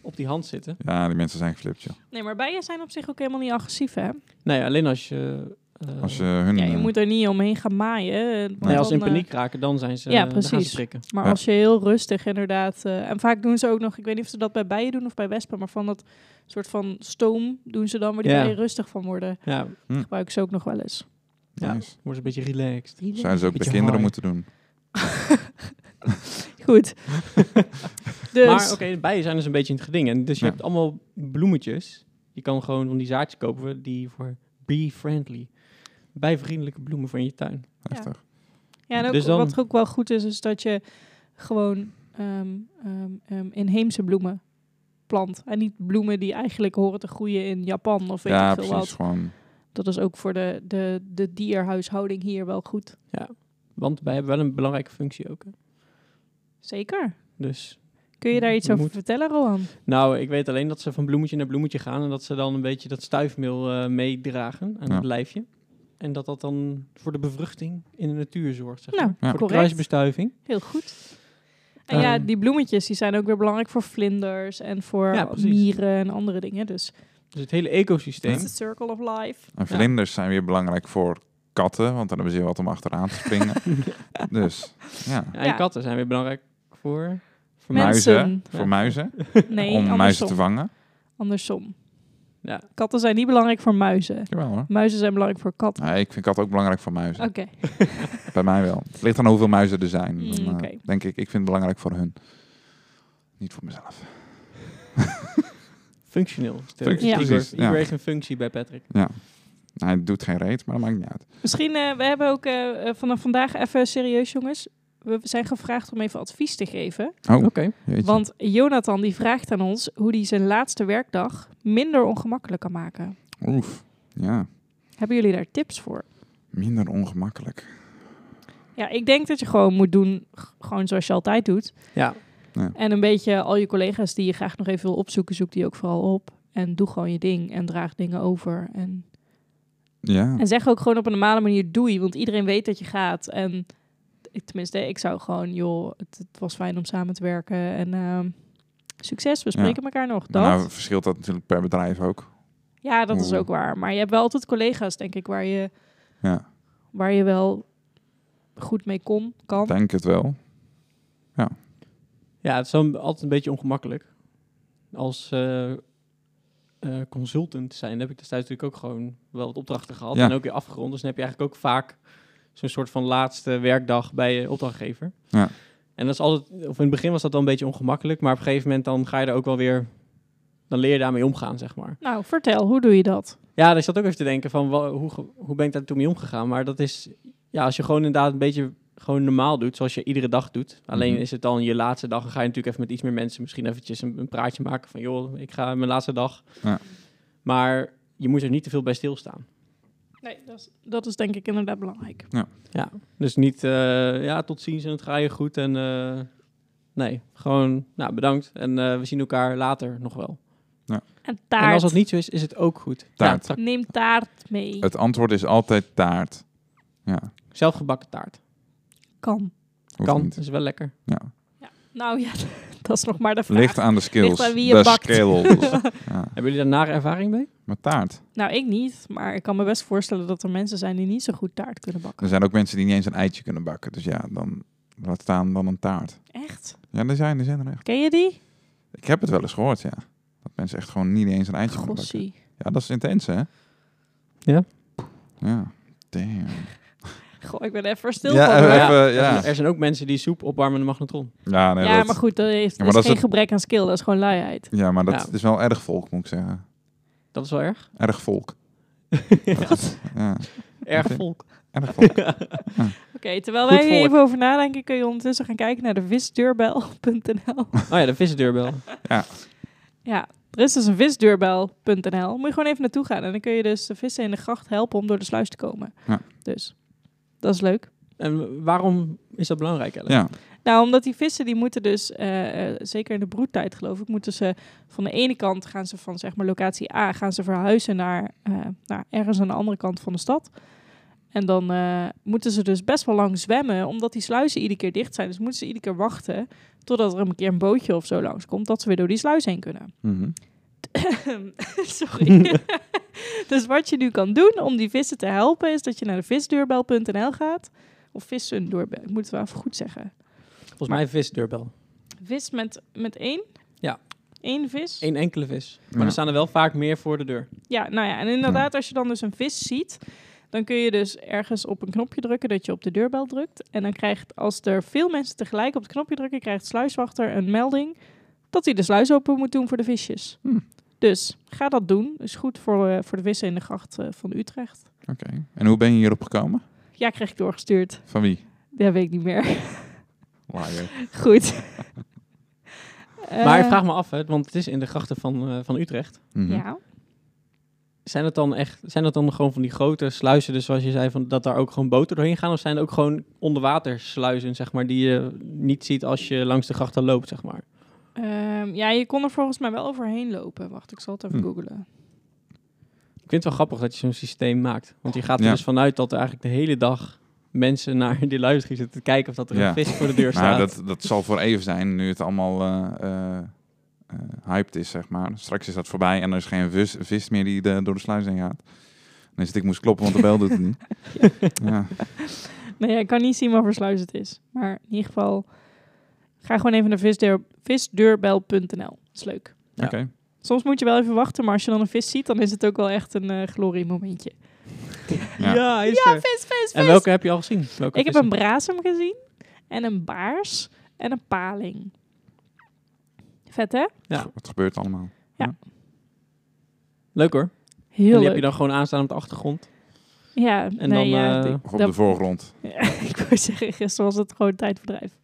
S3: op die hand zitten.
S1: Ja, die mensen zijn geflipt, joh.
S2: Nee, maar bijen zijn op zich ook helemaal niet agressief, hè?
S3: Nou ja, alleen als je... eh,
S1: Als je hun...
S2: Ja, je
S1: eh,
S2: moet er niet omheen gaan maaien. eh, want
S3: nee, als ze in
S2: dan, eh,
S3: paniek raken, dan zijn ze...
S2: ja,
S3: dan gaan ze
S2: precies.
S3: schrikken.
S2: Maar
S1: Ja.
S2: als je heel rustig inderdaad... eh, en vaak doen ze ook nog... Ik weet niet of ze dat bij bijen doen of bij wespen... maar van dat soort van stoom doen ze dan... waar die
S3: Ja.
S2: bijen rustig van worden.
S3: Ja,
S2: Gebruiken ze ook nog wel eens.
S3: ja.
S1: nice.
S3: wordt een beetje relaxed.
S1: Zouden ze ook bij
S3: Beetje
S1: kinderen
S3: high.
S1: moeten doen.
S2: Goed. dus,
S3: Maar oké, de bijen zijn dus een beetje in het geding. En dus je
S1: Ja.
S3: hebt allemaal bloemetjes. Je kan gewoon van die zaadjes kopen die voor bee-friendly, bijvriendelijke bloemen van je tuin.
S1: Heftig.
S2: ja, en ook,
S3: dus dan-
S2: wat ook wel goed is, is dat je gewoon ehm, ehm, ehm, inheemse bloemen plant. En niet bloemen die eigenlijk horen te groeien in Japan of weet
S1: Ja,
S2: ik veel
S1: precies.
S2: wat.
S1: Gewoon...
S2: Dat is ook voor de, de, de dierhuishouding hier wel goed.
S3: Want wij hebben wel een belangrijke functie ook. hè.
S2: Zeker.
S3: Dus,
S2: Kun je daar iets
S3: We
S2: over
S3: moeten-
S2: vertellen, Rohan?
S3: nou, ik weet alleen dat ze van bloemetje naar bloemetje gaan en dat ze dan een beetje dat stuifmeel eh, meedragen aan
S1: Ja.
S3: het lijfje. En dat dat dan voor de bevruchting in de natuur zorgt, zeg
S2: Nou,
S3: maar. Voor de
S2: correct.
S3: kruisbestuiving.
S2: Heel goed. En ja,
S3: Ehm.
S2: die bloemetjes die zijn ook weer belangrijk voor vlinders en voor
S3: Ja, precies.
S2: mieren en andere dingen. Dus
S3: Dus het hele ecosysteem.
S2: it's the circle of life.
S1: En vlinders zijn weer belangrijk voor katten, want dan hebben ze heel wat om achteraan te springen. dus, ja.
S3: Ja, en
S2: Ja.
S3: katten zijn weer belangrijk voor... voor
S2: Mensen.
S1: Muizen, voor
S3: Ja.
S1: muizen,
S2: Nee,
S1: om muizen te
S2: andersom.
S1: vangen.
S2: andersom.
S3: Ja.
S2: Katten zijn niet belangrijk voor muizen.
S1: Jawel hoor.
S2: Muizen zijn belangrijk voor katten.
S1: Nee, ik vind katten ook belangrijk voor muizen.
S2: Oké.
S1: Bij mij wel. Het ligt aan hoeveel muizen er zijn. Dan, eh,
S2: Mm, oké.
S1: denk ik, ik vind het belangrijk voor hun. Niet voor mezelf.
S3: Functioneel.
S1: Functie-
S2: Ja.
S3: Igor,
S1: precies, ja.
S3: Igor heeft een functie bij Patrick.
S1: Ja. Nou, het doet geen reet, maar dat maakt niet uit.
S2: Misschien, eh, we hebben ook eh, eh, vanaf vandaag even serieus, jongens. We zijn gevraagd om even advies te geven.
S1: Oh,
S3: Oké.
S1: jeetje.
S2: Want Jonathan die vraagt aan ons hoe hij zijn laatste werkdag minder ongemakkelijk kan maken.
S1: Oef. Ja,
S2: Hebben jullie daar tips voor?
S1: minder ongemakkelijk.
S2: Ja, ik denk dat je gewoon moet doen, g- gewoon zoals je altijd doet.
S3: Ja.
S2: En een beetje al je collega's die je graag nog even wil opzoeken, zoek die ook vooral op. En doe gewoon je ding en draag dingen over. En,
S1: Ja,
S2: en zeg ook gewoon op een normale manier doei, want iedereen weet dat je gaat. En ik, tenminste, ik zou gewoon, joh, het, het was fijn om samen te werken. En ehm, succes, we
S1: Ja.
S2: spreken elkaar nog. Dat.
S1: nou verschilt dat natuurlijk per bedrijf ook.
S2: ja, dat is
S1: Oeh.
S2: ook waar. Maar je hebt wel altijd collega's, denk ik, waar je,
S1: Ja,
S2: waar je wel goed mee kon, kan.
S1: denk het wel.
S3: Ja, het is wel altijd een beetje ongemakkelijk. Als eh, eh, consultant zijn heb ik destijds natuurlijk ook gewoon wel wat opdrachten gehad.
S1: Ja.
S3: En ook weer afgerond. Dus dan heb je eigenlijk ook vaak zo'n soort van laatste werkdag bij je opdrachtgever.
S1: Ja.
S3: En dat is altijd, of in het begin was dat dan een beetje ongemakkelijk. Maar op een gegeven moment dan ga je er ook wel weer, dan leer je daarmee omgaan, zeg maar.
S2: Nou, vertel, hoe doe je dat?
S3: Ja, dus zat ook even te denken van wa- hoe, ge- hoe ben ik daar toen mee omgegaan. Maar dat is, ja, als je gewoon inderdaad een beetje gewoon normaal doet, zoals je iedere dag doet. Alleen
S1: Mhm.
S3: is het dan je laatste dag en ga je natuurlijk even met iets meer mensen misschien eventjes een, een praatje maken van joh, ik ga mijn laatste dag.
S1: Ja.
S3: Maar je moet er niet te veel bij stilstaan.
S2: Nee, dat is, dat is denk ik inderdaad belangrijk.
S3: Dus niet, eh, ja, tot ziens en het ga je goed en eh, nee, gewoon, nou, bedankt en eh, we zien elkaar later nog wel.
S2: En
S3: En
S2: taart.
S3: als dat niet zo is, is het ook goed.
S1: Taart.
S3: Ja, ta-
S2: Neem taart mee.
S1: Het antwoord is altijd taart. Ja,
S3: zelfgebakken taart.
S2: kan.
S1: hoeft
S3: kan,
S1: niet.
S3: is wel lekker.
S1: Ja.
S2: Nou ja, dat is nog maar de vraag.
S1: Ligt aan de skills.
S2: Ligt aan wie je
S1: de
S2: bakt.
S1: skills. ja.
S3: Hebben jullie daar nare ervaring mee?
S1: Maar taart.
S2: Nou, ik niet. Maar ik kan me best voorstellen dat er mensen zijn die niet zo goed taart kunnen bakken.
S1: Er zijn ook mensen die niet eens een eitje kunnen bakken. Dus ja, dan laat staan dan een taart.
S2: Echt?
S1: Ja, er zijn, er zijn er echt.
S2: Ken je die?
S1: Ik heb het wel eens gehoord, ja. Dat mensen echt gewoon niet eens een eitje kunnen bakken.
S2: Gossie.
S1: Ja, dat is intens, hè?
S3: Ja.
S1: Ja. Damn.
S2: Goh, ik ben even stil
S1: Ja,
S2: van.
S1: eh,
S2: hoor.
S1: even-
S3: er
S1: ja.
S3: zijn- Er zijn ook mensen die soep opwarmen in de magnetron.
S1: Ja, nee,
S2: ja,
S1: dat...
S2: maar goed, dat is,
S1: Ja, maar
S2: is
S1: dat is
S2: geen
S1: het-
S2: gebrek aan skill. Dat is gewoon luiheid.
S1: Ja, maar dat
S3: Ja.
S1: is wel erg volk, moet ik zeggen.
S3: Dat is wel erg.
S1: Erg volk. Ja,
S3: Erg
S1: Oké.
S3: volk.
S1: erg volk.
S2: Oké, terwijl
S3: Goed
S2: wij hier
S3: volk.
S2: even over nadenken, kun je ondertussen gaan kijken naar de visdeurbel.nl.
S3: Oh ja, de visdeurbel.
S2: Ja, er is dus een visdeurbel.nl. Moet je gewoon even naartoe gaan. En dan kun je dus de vissen in de gracht helpen om door de sluis te komen.
S1: Ja.
S2: Dus dat is leuk.
S3: En waarom is dat belangrijk, Ellen?
S1: Ja,
S2: Nou, omdat die vissen die moeten dus, eh, eh, zeker in de broedtijd geloof ik, moeten ze van de ene kant gaan ze van zeg maar locatie A gaan ze verhuizen naar, eh, naar ergens aan de andere kant van de stad. En dan eh, moeten ze dus best wel lang zwemmen, omdat die sluizen iedere keer dicht zijn. Dus moeten ze iedere keer wachten totdat er een keer een bootje of zo langskomt, dat ze weer door die sluis heen kunnen.
S1: Mhm.
S2: Sorry. dus wat je nu kan doen om die vissen te helpen, is dat je naar de visdeurbel.nl gaat. Of vissendeurbel, ik moet het wel even goed zeggen.
S3: Volgens mij een visdeurbel.
S2: Vis met, met één?
S3: Ja.
S2: Eén vis?
S3: Eén enkele vis. Maar
S1: Ja.
S3: er staan er wel vaak meer voor de deur.
S2: Ja, nou ja, en inderdaad, als je dan dus een vis ziet, dan kun je dus ergens op een knopje drukken dat je op de deurbel drukt. En dan krijgt, als er veel mensen tegelijk op het knopje drukken, krijgt sluiswachter een melding dat hij de sluis open moet doen voor de visjes.
S1: Hm.
S2: Dus ga dat doen. Is goed voor, eh, voor de vissen in de gracht eh, van Utrecht.
S1: Oké. En hoe ben je hierop gekomen?
S2: Ja, kreeg ik doorgestuurd.
S1: Van wie?
S2: Dat weet ik niet meer.
S1: Liar.
S2: Goed.
S3: maar ik
S2: Eh,
S3: vraag me af, hè, want het is in de grachten van, eh, van Utrecht.
S1: Mhm.
S2: Ja.
S3: Zijn dat dan echt, zijn dat dan gewoon van die grote sluizen, dus zoals je zei, van, dat daar ook gewoon boten doorheen gaan? Of zijn er ook gewoon onderwatersluizen, zeg maar, die je niet ziet als je langs de grachten loopt, zeg maar?
S2: Ehm, ja, je kon er volgens mij wel overheen lopen. Wacht, ik zal het even
S1: Hm.
S2: googlen.
S3: Ik vind het wel grappig dat je zo'n systeem maakt. Want je gaat er
S1: Ja.
S3: dus vanuit dat er eigenlijk de hele dag mensen naar die luisteren zitten te kijken of dat er
S1: Ja.
S3: een vis voor de deur staat.
S1: Nou, dat, dat zal voor even zijn, nu het allemaal eh, eh, eh, hyped is, zeg maar. Straks is dat voorbij en er is geen vis, vis meer die de, door de sluis heen gaat. Dan zit ik moest kloppen, want de bel doet het niet. Ja.
S2: Nee, Nou ik kan niet zien wat voor sluis het is. Maar in ieder geval, ga gewoon even naar visdeur, visdeurbel.nl. is leuk.
S3: Ja.
S1: Oké.
S2: Soms moet je wel even wachten, maar als je dan een vis ziet, dan is het ook wel echt een eh gloriemomentje.
S1: Ja.
S3: is
S2: ja,
S3: er.
S2: vis, vis, vis.
S3: En welke heb je al gezien? Welke
S2: Ik heb
S3: vissen?
S2: een brasem gezien en een baars en een paling. Vet, hè?
S1: Wat gebeurt er allemaal?
S3: Leuk hoor. en
S2: Heel
S3: die
S2: leuk.
S3: heb je dan gewoon aanstaan op de achtergrond.
S2: ja,
S3: En
S2: nee,
S3: dan,
S2: ja,
S3: eh,
S2: ik-
S1: Of op
S2: dat-
S1: de voorgrond?
S2: Ja, ik wou zeggen, gisteren was het gewoon tijdverdrijf.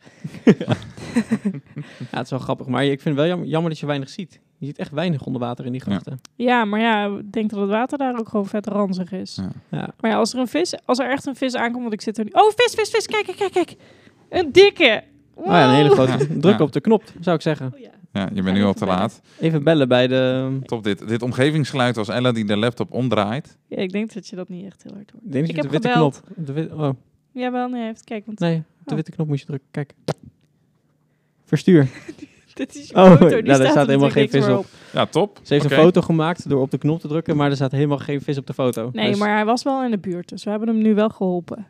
S3: Ja, het is wel grappig. Maar ik vind het wel jammer, jammer dat je weinig ziet. Je ziet echt weinig onder water in die grachten.
S2: Ja, maar ja, ik denk dat het water daar ook gewoon vet ranzig is.
S1: Ja.
S3: Ja.
S2: Maar ja, als er een vis, als er echt een vis aankomt, want ik zit er nu... Oh, vis, vis, vis, kijk, kijk, kijk, kijk. Een dikke.
S3: Oh ja, een hele
S2: Wow.
S3: grote
S1: Ja.
S3: druk
S1: Ja.
S3: op de knop, zou ik zeggen.
S2: Oh, ja.
S1: Ja, je
S2: Ga
S1: bent nu
S2: even
S1: al te
S2: bellen.
S1: laat.
S3: Even bellen bij de... ehm,
S1: Top, dit, dit omgevingsgeluid was Ella die de laptop omdraait.
S2: Ja, ik denk dat je dat niet echt heel hard hoort.
S3: Ik denk dat
S2: Ik
S3: je
S2: heb
S3: de witte
S2: gebeld.
S3: knop... De wit- oh,
S2: Jawel, nee, even kijken, want
S3: nee, de
S2: Oh.
S3: witte knop moet je drukken. Kijk. Verstuur.
S2: dit is je
S3: Oh,
S2: foto, die
S3: nou, daar
S2: staat,
S3: staat
S2: er
S3: helemaal
S2: natuurlijk
S3: geen
S2: niks
S3: vis
S2: meer
S3: op.
S1: Ja, top.
S3: Ze heeft
S1: Oké.
S3: een foto gemaakt door op de knop te drukken, maar er staat helemaal geen vis op de foto.
S2: Nee,
S3: Dus-
S2: maar hij was wel in de buurt, dus we hebben hem nu wel geholpen.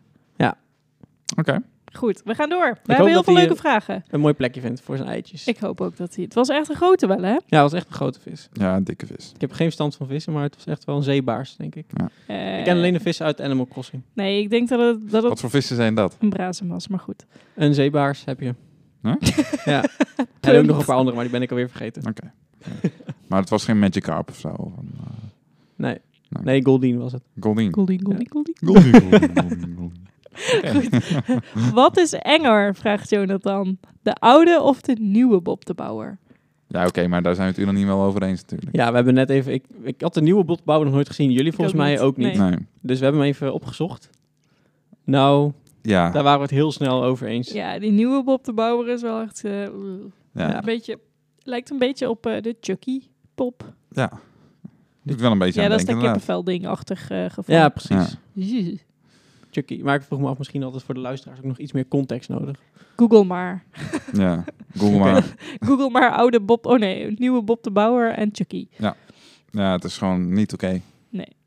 S1: Oké.
S2: Goed, we gaan door. We
S3: hoop
S2: hebben heel
S3: dat
S2: veel
S3: hij, eh,
S2: leuke vragen.
S3: Een mooi plekje vindt voor zijn eitjes.
S2: Ik hoop ook dat hij... Het was echt een grote wel, hè?
S3: Ja, het was echt een grote vis.
S1: Ja, een dikke vis.
S3: Ik heb geen verstand van vissen, maar het was echt wel een zeebaars, denk ik.
S2: Eh,
S3: Ik ken alleen de vissen uit Animal Crossing.
S2: Nee, ik denk dat het, dat het
S1: Wat voor vissen zijn dat?
S2: een brazen was, maar goed.
S3: Een zeebaars heb je.
S1: Huh?
S3: ja. En ook nog een paar andere, maar die ben ik alweer vergeten.
S1: Oké. Ja. Maar het was geen Magic Carp of zo. Van, eh,
S3: Nee.
S1: Nee.
S3: Nee, Goldien was het.
S1: Goldien.
S2: Goldie,
S3: goldie,
S1: Goldien, Goldien, Goldien, Goldien.
S2: Wat is enger, vraagt Jonathan. De oude of de nieuwe Bob de Bouwer?
S1: Ja, oké, maar daar zijn we het unaniem wel over eens natuurlijk.
S3: Ja, we hebben net even... Ik, ik had de nieuwe botbouw nog nooit gezien. Jullie volgens
S2: ook
S3: mij
S2: niet.
S3: ook niet.
S2: Nee.
S1: Nee.
S3: Dus we hebben hem even opgezocht. Nou,
S1: Ja.
S3: daar waren we het heel snel over eens.
S2: Ja, die nieuwe Bob de Bouwer is wel echt... eh, oeh.
S1: ja.
S2: een beetje, lijkt een beetje op eh, de Chucky pop.
S1: Ja. Doet wel een beetje
S2: Ja,
S1: aan
S2: dat is dat
S1: denken, inderdaad.
S2: kippenvel ding-achtig eh, gevoel.
S3: Ja, precies.
S1: Ja.
S2: Jezus.
S3: Chucky. Maar ik vroeg me af, misschien altijd voor de luisteraars ook nog iets meer context nodig.
S2: Google maar.
S1: Ja. Google maar.
S2: Google maar oude Bob... Oh nee, nieuwe Bob de Bouwer en Chucky.
S1: Ja, het is gewoon niet oké.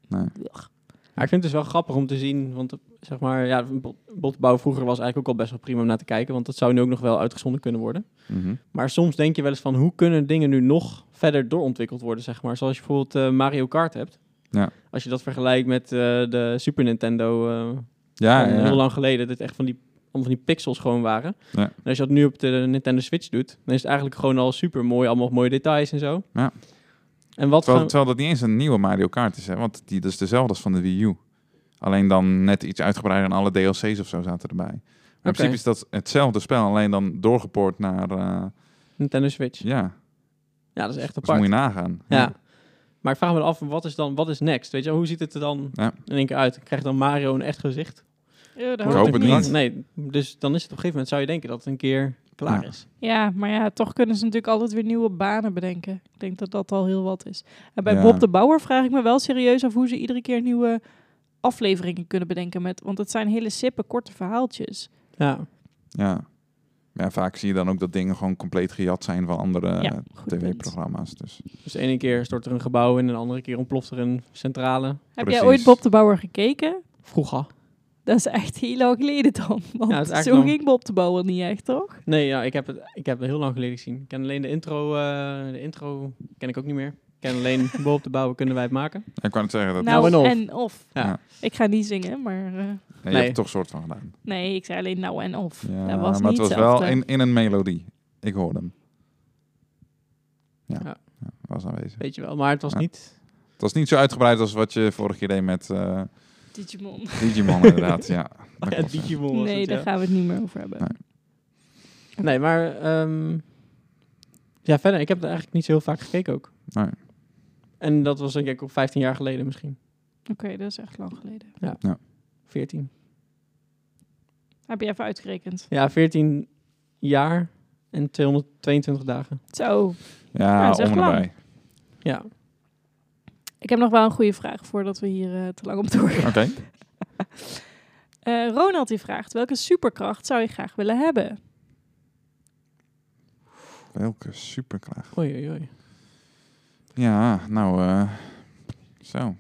S3: Maar ik vind het dus wel grappig om te zien, want eh, zeg maar, ja, bot- botbouw vroeger was eigenlijk ook al best wel prima om naar te kijken, want dat zou nu ook nog wel uitgezonden kunnen worden.
S1: Mhm.
S3: Maar soms denk je wel eens van, hoe kunnen dingen nu nog verder doorontwikkeld worden, zeg maar. Zoals je bijvoorbeeld eh, Mario Kart hebt.
S1: Ja.
S3: Als je dat vergelijkt met eh, de Super Nintendo eh,
S1: Ja,
S3: van
S1: Ah, ja,
S3: heel
S1: ja.
S3: lang geleden, dat echt van die, allemaal van die pixels gewoon waren.
S1: Ja.
S3: En als je dat nu op de Nintendo Switch doet, dan is het eigenlijk gewoon al super mooi, allemaal mooie details en zo.
S1: Ja.
S3: En wat
S1: Terwijl,
S3: gaan-
S1: terwijl dat niet eens een nieuwe Mario Kart is, hè? want die dat is dezelfde als van de Wii U. Alleen dan net iets uitgebreider en alle DLC's of zo zaten erbij. Maar in principe is dat hetzelfde spel, alleen dan doorgepoord naar... eh,
S3: Nintendo Switch.
S1: ja,
S3: Ja, dat is echt
S1: dus
S3: apart.
S1: moet je nagaan.
S3: Ja. Maar ik vraag me af, wat is dan, wat is next? Weet je, wel, hoe ziet het er dan
S1: Ja.
S3: in één keer uit? Krijgt dan Mario een echt gezicht?
S2: Ja, dat
S1: Ik hoop het niet.
S3: Nee, dus dan is het op een gegeven moment, zou je denken dat het een keer klaar
S1: Ja.
S3: is.
S2: Ja, maar ja, toch kunnen ze natuurlijk altijd weer nieuwe banen bedenken. Ik denk dat dat al heel wat is. En bij
S1: Ja.
S2: Bob de Bouwer vraag ik me wel serieus af hoe ze iedere keer nieuwe afleveringen kunnen bedenken. Met, want het zijn hele sippe, korte verhaaltjes.
S3: Ja,
S1: Ja. Maar ja, vaak zie je dan ook dat dingen gewoon compleet gejat zijn van andere
S2: ja, goed punt.
S1: tv-programma's. Dus
S3: dus de ene keer stort er een gebouw in en de andere keer ontploft er een centrale.
S2: Heb
S1: Precies.
S2: jij ooit Bob de Bouwer gekeken?
S3: Vroeger.
S2: Dat is echt heel lang geleden dan. Want
S3: Ja, het is eigenlijk
S2: zo
S3: nog-
S2: ging Bob de Bouwer niet echt, toch?
S3: Nee, ja, ik, heb het, ik heb het heel lang geleden gezien. Ik ken alleen de intro. eh, de intro ken ik ook niet meer. Ik ken alleen Bob de Bouwen kunnen wij het maken.
S1: Ja, ik kan het zeggen dat
S2: nou,
S3: en of.
S2: en of.
S3: Ja.
S1: Ja.
S2: Ik ga niet zingen, maar... eh,
S1: Ja, je
S3: nee.
S1: hebt er toch soort van gedaan.
S2: nee, ik zei alleen nou en of.
S1: Ja,
S2: dat was
S1: maar
S2: niet
S1: het was
S2: hetzelfde.
S1: wel in, in een melodie. Ik hoorde hem. Ja,
S3: Ja.
S1: ja. was aanwezig.
S3: Weet je wel, maar het was
S1: Ja.
S3: niet.
S1: Het was niet zo uitgebreid als wat je vorige keer deed met eh
S2: Digimon.
S1: Digimon inderdaad. Ja, dat
S3: Ja,
S1: klopt, ja.
S3: Digimon was
S2: Nee,
S3: het,
S2: daar
S3: ja.
S2: gaan we het niet meer over hebben.
S1: Nee.
S3: Nee, maar. ehm, ja, verder. Ik heb het eigenlijk niet zo heel vaak gekeken ook.
S1: Nee.
S3: En dat was denk ik ook 15 jaar geleden misschien.
S2: Oké, dat is echt lang geleden.
S3: 14.
S2: Heb je even uitgerekend.
S3: Ja, 14 jaar en 222 dagen.
S2: Zo, Ja,
S1: Ja,
S2: dat is echt
S1: om en
S2: lang.
S1: nabij.
S3: Ja.
S2: ik heb nog wel een goede vraag voordat we hier eh, te lang op doorgaan.
S1: Oké.
S2: Eh, Ronald die vraagt, welke superkracht zou je graag willen hebben?
S1: Welke superkracht.
S3: Oei, oei, oei.
S1: Ja, nou, eh, zo.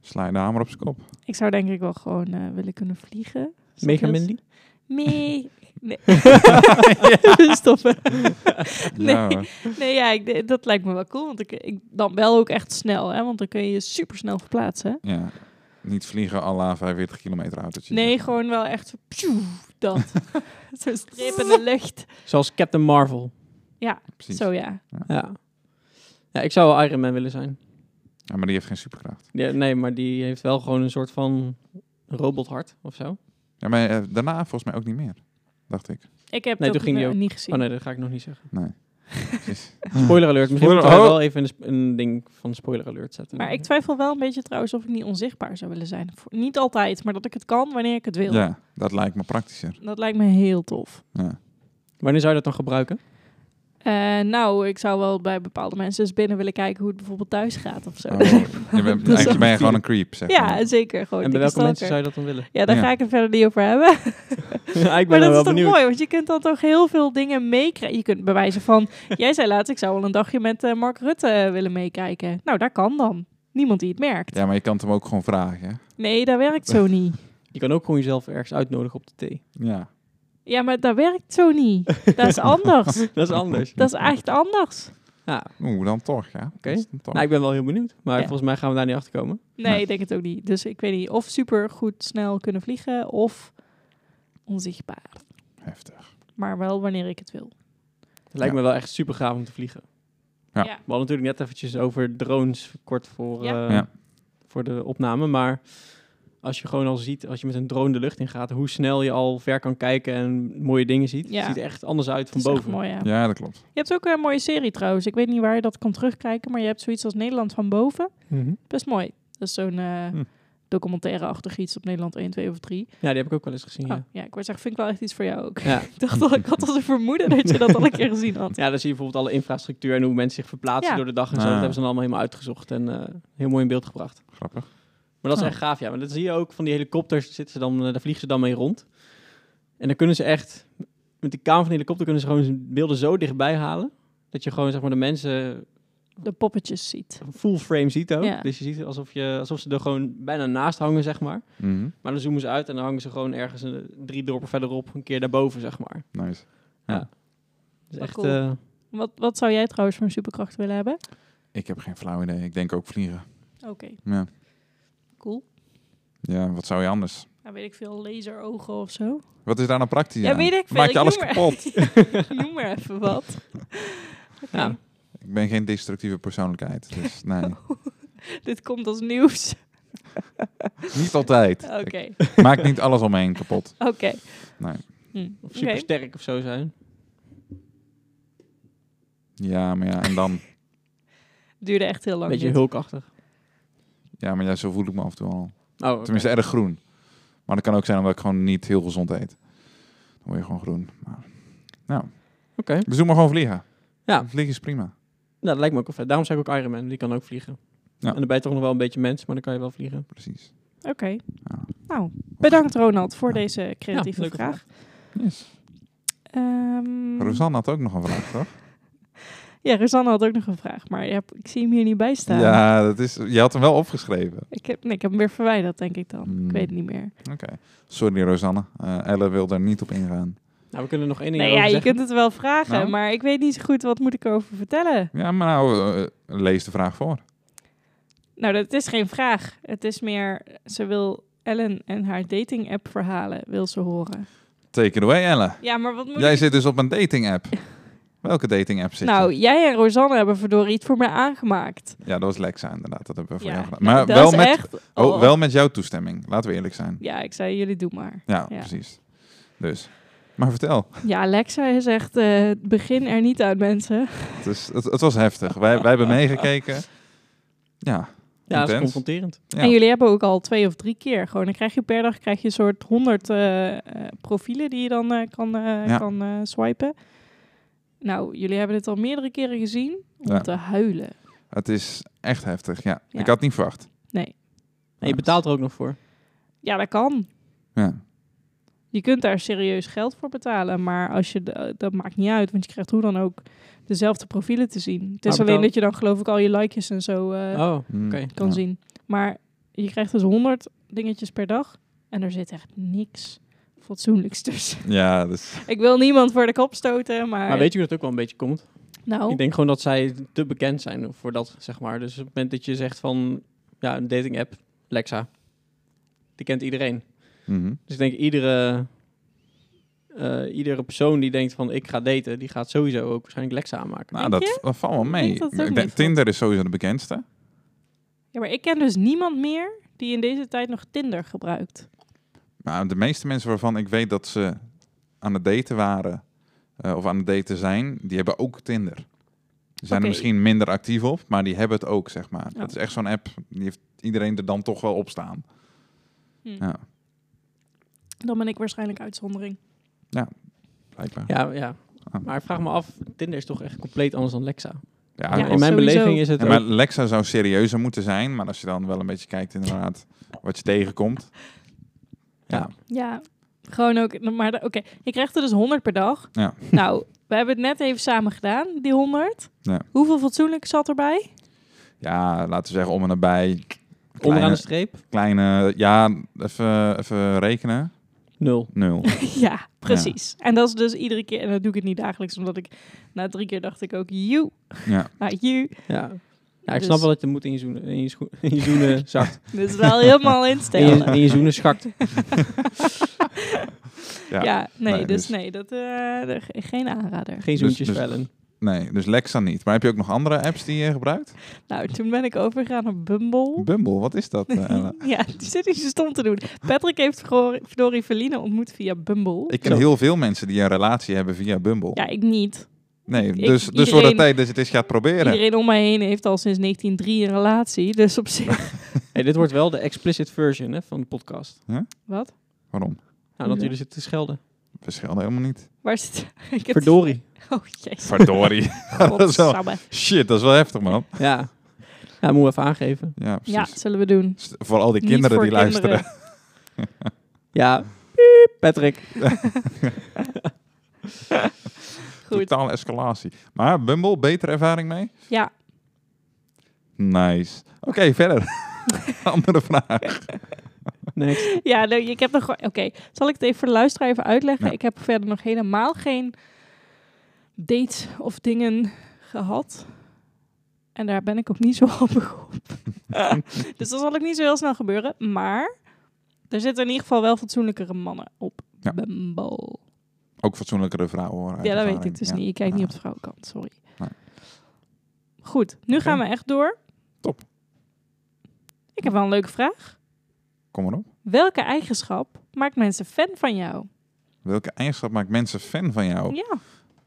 S1: Sla je de hamer op zijn kop.
S2: Ik zou denk ik wel gewoon eh, willen kunnen vliegen. Is dat
S3: Mega
S2: heel-
S3: Mindy?
S2: Nee. Nee. Stoppen. Nee.
S1: Ja,
S3: Nou.
S1: hoor.
S2: Nee, ja, ik, dat lijkt me wel cool. Want ik, ik dan wel ook echt snel, hè? Want dan kun je je supersnel verplaatsen. hè?
S1: ja. Niet vliegen à la 45 kilometer autootje.
S2: Nee, gewoon wel echt zo, pjoe, dat. Zo'n streep in de lucht.
S3: Zoals Captain Marvel.
S1: Precies.
S2: Zo ja.
S3: Ja. Ja, ik zou wel Iron Man willen zijn.
S1: Ja, maar die heeft geen superkracht.
S3: Ja, nee, maar die heeft wel gewoon een soort van robothart of zo.
S1: Ja, maar eh, daarna volgens mij ook niet meer. Dacht ik.
S2: Ik heb
S3: Nee,
S2: dat
S3: toen ging die
S2: eh,
S3: ook.
S2: niet gezien.
S3: Oh nee, dat ga ik nog niet zeggen.
S1: Nee. Precies.
S3: Spoiler alert. Misschien
S1: Hmm. Spoiler-
S3: moeten we
S1: oh.
S3: wel even een, sp- een ding van spoiler alert zetten.
S2: Maar ik twijfel wel een beetje trouwens of ik niet onzichtbaar zou willen zijn. Voor- Niet altijd, maar dat ik het kan wanneer ik het wil.
S1: Ja, dat lijkt me praktischer.
S2: Dat lijkt me heel tof.
S1: Ja.
S3: Wanneer zou je dat dan gebruiken?
S2: Eh, nou, ik zou wel bij bepaalde mensen eens binnen willen kijken hoe het bijvoorbeeld thuis gaat of zo.
S1: Oh, je bent,
S2: Dat is
S1: eigenlijk ben je
S3: wel-
S1: gewoon een creep, zeg maar.
S2: ja, zeker. Gewoon
S3: en bij
S2: dikke
S3: welke mensen
S2: stalker.
S3: zou je dat dan willen?
S2: Ja, daar
S1: Ja.
S2: ga ik het verder niet over hebben.
S3: ja, ik ben
S2: Maar
S3: er
S2: dat
S3: wel
S2: is toch
S3: benieuwd.
S2: mooi, want je kunt dan toch heel veel dingen meekrijgen. Je kunt bewijzen van, jij zei laatst, ik zou wel een dagje met eh, Mark Rutte eh, willen meekijken. Nou, daar kan dan. Niemand die het merkt.
S1: Ja, maar je kan het hem ook gewoon vragen, hè?
S2: Nee, dat werkt zo niet.
S3: Je kan ook gewoon jezelf ergens uitnodigen op de thee.
S1: Ja.
S2: Ja, maar dat werkt zo niet. Dat is anders.
S3: Dat is anders.
S2: Dat is echt anders.
S3: Ja.
S1: Oeh, dan toch, ja.
S3: Oké.
S1: Dat is dan toch.
S3: Nou, ik ben wel heel benieuwd. Maar
S2: Ja.
S3: volgens mij gaan we daar niet achter komen.
S2: Nee,
S1: Nee.
S2: ik denk het ook niet. Dus ik weet niet of super goed snel kunnen vliegen of onzichtbaar.
S1: Heftig.
S2: Maar wel wanneer ik het wil.
S3: Het lijkt
S1: Ja.
S3: me wel echt super gaaf om te vliegen.
S1: Ja.
S2: Ja.
S3: We hadden natuurlijk net eventjes over drones kort voor,
S2: Ja.
S3: eh,
S1: Ja.
S3: voor de opname. Maar als je gewoon al ziet, als je met een drone de lucht in gaat, hoe snel je al ver kan kijken en mooie dingen ziet.
S2: Ja.
S3: Het ziet er echt anders uit
S2: Dat
S3: van
S2: is echt
S3: boven.
S2: mooi, ja.
S1: Ja, dat klopt.
S2: Je hebt ook een mooie serie trouwens. Ik weet niet waar je dat kan terugkijken, maar je hebt zoiets als Nederland van boven.
S3: Mhm.
S2: Best mooi. Dat is zo'n eh
S1: Hm.
S2: documentaire-achtig iets op Nederland 1, 2 of 3.
S3: Ja, die heb ik ook wel eens gezien.
S2: Oh,
S3: Ja.
S2: ja, ik word zeggen, vind ik wel echt iets voor jou ook.
S3: Ja.
S2: ik dacht al, ik had al een vermoeden dat je dat al een keer gezien had.
S3: ja, dan zie je bijvoorbeeld alle infrastructuur en hoe mensen zich verplaatsen
S2: Ja.
S3: door de dag en zo.
S1: Ah.
S3: Dat hebben ze dan allemaal helemaal uitgezocht en eh, heel mooi in beeld gebracht.
S1: Grappig.
S3: Maar dat is
S1: Oh.
S3: echt gaaf, ja. Maar dat zie je ook van die helikopters. Zitten ze dan, eh, daar vliegen ze dan mee rond. En dan kunnen ze echt... Met de kamer van de helikopter kunnen ze gewoon beelden zo dichtbij halen... dat je gewoon zeg maar, de mensen
S2: De poppetjes ziet.
S3: full frame ziet ook.
S2: Ja.
S3: Dus je ziet het alsof, je, alsof ze er gewoon bijna naast hangen, zeg maar.
S1: Mhm.
S3: Maar dan zoomen ze uit en dan hangen ze gewoon ergens eh, drie dorpen verderop... een keer daarboven, zeg maar.
S1: Nice.
S3: Dus
S2: Wel
S3: echt...
S2: Oh, cool.
S3: eh,
S2: Wat, wat zou jij trouwens voor een superkracht willen hebben?
S1: Ik heb geen flauw idee. Ik denk ook vliegen.
S2: Oké,
S1: Ja.
S2: cool.
S1: Ja, wat zou je anders?
S2: Nou weet ik veel, laserogen of zo.
S1: Wat is daar nou praktisch
S2: Ja,
S1: aan?
S2: weet ik veel.
S1: Maak je
S2: Ik
S1: alles
S2: noem maar-
S1: kapot.
S2: Noem maar even wat. Oké,
S3: Ja.
S1: Ik ben geen destructieve persoonlijkheid, dus nee.
S2: Dit komt als nieuws.
S1: niet altijd.
S2: Oké,
S1: Ik maak niet alles om me heen kapot.
S2: oké.
S1: Nee.
S2: Hm,
S3: of
S2: oké.
S3: supersterk of zo zijn.
S1: Ja, maar ja, en dan...
S2: Duurde echt heel lang.
S3: Beetje
S2: dit.
S3: hulkachtig.
S1: Ja, maar ja, zo voel ik me af en toe al.
S3: Oh, oké.
S1: Tenminste, erg groen. Maar dat kan ook zijn omdat ik gewoon niet heel gezond eet. Dan word je gewoon groen. Maar, nou,
S3: Oké.
S1: dus doe maar gewoon vliegen.
S3: Ja.
S1: Vliegen is prima.
S3: Nou, dat lijkt me ook wel vet. Daarom zei ik ook Iron Man, die kan ook vliegen.
S1: Ja.
S3: En dan ben je toch nog wel een beetje mens, maar dan kan je wel vliegen.
S1: Precies.
S2: Oké. Nou, bedankt Ronald voor
S1: Ja.
S2: deze creatieve
S3: leuke
S2: vraag.
S1: Yes.
S2: Ehm,
S1: Rosanne had ook nog een vraag, toch?
S2: Ja, Rosanne had ook nog een vraag, maar ja, ik zie hem hier niet bij staan.
S1: Ja, dat is, je had hem wel opgeschreven.
S2: Ik, heb, nee, ik heb hem weer verwijderd, denk ik dan.
S1: Hmm.
S2: Ik weet het niet meer.
S1: Oké. Sorry, Rosanne. Eh Elle wil daar niet op ingaan.
S3: Nou, we kunnen nog één ding
S2: Nee, ja,
S3: over
S2: je
S3: zeggen.
S2: kunt het wel vragen,
S1: Nou?
S2: maar ik weet niet zo goed wat moet ik erover vertellen.
S1: Ja, maar nou, eh, lees de vraag voor.
S2: Nou, dat is geen vraag. Het is meer, ze wil Ellen en haar dating app verhalen, wil ze horen.
S1: Take it away, Elle.
S2: Ja, maar wat moet
S1: Jij
S2: ik...
S1: zit dus op een dating app. Welke dating app zit
S2: Nou,
S1: je?
S2: jij en Rosanne hebben verdorie iets voor mij aangemaakt.
S1: Ja, dat was Lexa inderdaad. Dat hebben we voor
S2: ja,
S1: jou gedaan.
S2: nou,
S1: Maar
S2: dat
S1: wel,
S2: is
S1: met,
S2: echt...
S1: oh, wel met jouw toestemming. Laten we eerlijk zijn.
S2: Ja, ik zei, jullie doen maar.
S1: Ja,
S2: Ja.
S1: precies. Dus. Maar vertel.
S2: Ja, Alexa is echt, eh, begin er niet uit, mensen.
S1: Het, is, Dus het, het was heftig. Wij, wij hebben meegekeken. Ja.
S3: Ja, dat is
S1: Intens.
S3: confronterend.
S1: ja.
S2: En jullie hebben ook al twee of drie keer gewoon. Dan krijg je per dag krijg je een soort honderd eh, profielen die je dan eh, kan, eh,
S1: Ja.
S2: kan eh, swipen. Nou, jullie hebben dit al meerdere keren gezien. Om
S1: Ja.
S2: te huilen.
S1: Het is echt heftig. Ja.
S2: Ja.
S1: Ik had het niet verwacht.
S2: Nee.
S3: En je betaalt er ook nog voor.
S2: Ja, dat kan.
S1: Ja.
S2: Je kunt daar serieus geld voor betalen. Maar als je de- eh, dat maakt niet uit, want je krijgt hoe dan ook dezelfde profielen te zien. Het is
S3: betaal-
S2: alleen dat je dan geloof ik al je likejes en zo eh,
S3: Oh,
S1: Hm,
S3: Oké.
S2: kan
S1: ja.
S2: zien. Maar je krijgt dus honderd dingetjes per dag. En er zit echt niks fatsoenlijks tussen.
S1: Ja, dus
S2: Ik wil niemand voor de kop stoten, maar...
S3: maar weet je hoe dat ook wel een beetje komt?
S2: Nou,
S3: Ik denk gewoon dat zij te bekend zijn voor dat, zeg maar. Dus op het moment dat je zegt van, ja, een dating app, Lexa, die kent iedereen.
S1: mhm.
S3: Dus ik denk iedere, eh, iedere persoon die denkt van, ik ga daten, die gaat sowieso ook waarschijnlijk Lexa aanmaken.
S1: Nou,
S2: Denk
S1: dat, dat valt wel mee.
S2: denk dat het ook
S1: Ik denk-
S2: meevalt.
S1: Tinder is sowieso de bekendste.
S2: ja, maar ik ken dus niemand meer die in deze tijd nog Tinder gebruikt.
S1: Maar de meeste mensen waarvan ik weet dat ze aan het daten waren eh, of aan het daten zijn, die hebben ook Tinder. Die zijn
S2: Oké.
S1: er misschien minder actief op, maar die hebben het ook, zeg maar.
S2: Ja.
S1: Dat is echt zo'n app, die heeft iedereen er dan toch wel op staan.
S2: Hm.
S1: Ja.
S2: Dan ben ik waarschijnlijk uitzondering.
S1: Blijkbaar.
S3: Ja, ja.
S1: Ah.
S3: Maar ik vraag me af, Tinder is toch echt compleet anders dan Lexa.
S1: Ja,
S2: Ja,
S1: als-
S3: in mijn
S2: sowieso.
S3: beleving is het
S1: ja, maar
S3: ook-
S1: Lexa zou serieuzer moeten zijn, maar als je dan wel een beetje kijkt inderdaad wat je tegenkomt. Ja.
S3: Ja.
S2: Ja, gewoon ook... Maar de- oké, je krijgt er dus 100 per dag.
S1: Ja.
S2: Nou, we hebben het net even samen gedaan, die 100.
S1: Ja.
S2: Hoeveel fatsoenlijk zat erbij?
S1: ja, laten we zeggen om en nabij.
S3: onderaan de
S1: Kleine,
S3: streep,
S1: kleine ja, even, even rekenen.
S3: nul.
S1: Nul.
S2: ja, precies. En dat is dus iedere keer... En dat doe ik het niet dagelijks, omdat ik... Na drie keer dacht ik ook, you,
S1: ja.
S2: ah, you.
S3: Ja. Ja, ik
S2: Dus-
S3: snap wel dat je moet in je zoenen, in je schoen- in je zoenen zakt.
S2: Dit is wel helemaal
S3: In je,
S2: instellen.
S3: in je zoenen schakt.
S1: Ja.
S2: Ja, nee,
S1: Nee,
S2: dus
S1: dus-
S2: nee, dat, eh, er- geen aanrader.
S3: Geen zoentjes
S1: dus-
S3: vellen.
S1: Nee, dus Lexa niet. Maar heb je ook nog andere apps die je gebruikt?
S2: Nou, toen ben ik overgegaan op Bumble.
S1: Bumble, wat is dat? eh, Ella?
S2: ja, die zit niet zo stom te doen. Patrick heeft vergo- verdorie Feline ontmoet via Bumble.
S1: ik ken
S3: Zo.
S1: heel veel mensen die een relatie hebben via Bumble.
S2: Ja, ik niet.
S1: nee,
S2: ik-
S1: dus, dus
S2: iedereen-
S1: voor de tijd dat je het eens gaat proberen.
S2: Iedereen om mij heen heeft al sinds 1903 een relatie. Dus op zich...
S3: Hey, dit wordt wel de explicit version hè, van de podcast.
S2: Wat?
S1: Waarom?
S3: Nou, dat
S2: Ja.
S3: jullie zitten te schelden.
S1: We schelden helemaal niet.
S2: Waar zit... Ik heb-
S3: Verdorie.
S2: Oh, jezus.
S1: Verdorie. dat is wel-
S2: Godsamme.
S1: Shit, dat is wel heftig, man.
S3: Ja. Ja, moet even aangeven.
S1: Ja,
S2: Ja,
S1: precies.
S2: zullen we doen.
S1: St- Voor al die
S2: Niet
S1: kinderen
S2: voor
S1: die
S2: kinderen.
S1: luisteren.
S3: Ja. Piep, Patrick.
S2: Goed.
S1: Totale escalatie. Maar Bumble, betere ervaring mee?
S2: Ja,
S1: Nice. Oké, verder. andere vraag.
S3: Next.
S2: ja nee, ik heb nog... Oké, zal ik het even voor de luisteraar even uitleggen?
S1: Ja.
S2: Ik heb verder nog helemaal geen dates of dingen gehad. En daar ben ik ook niet zo handig op. dus dat zal ook niet zo heel snel gebeuren. Maar er zitten in ieder geval wel fatsoenlijkere mannen op
S1: Ja.
S2: Bumble.
S1: Ook fatsoenlijkere vrouwen hoor. uit
S2: Ja, dat weet ik
S1: ervaring.
S2: dus
S1: Ja.
S2: niet. Ik kijk
S1: Ja.
S2: niet op de vrouwenkant, sorry.
S1: Nee.
S2: Goed, nu
S1: Oké.
S2: gaan we echt door.
S1: Top.
S2: Ik heb wel een leuke vraag.
S1: Kom maar op.
S2: Welke eigenschap maakt mensen fan van jou?
S1: Welke eigenschap maakt Oh. mensen fan van jou?
S2: Ja,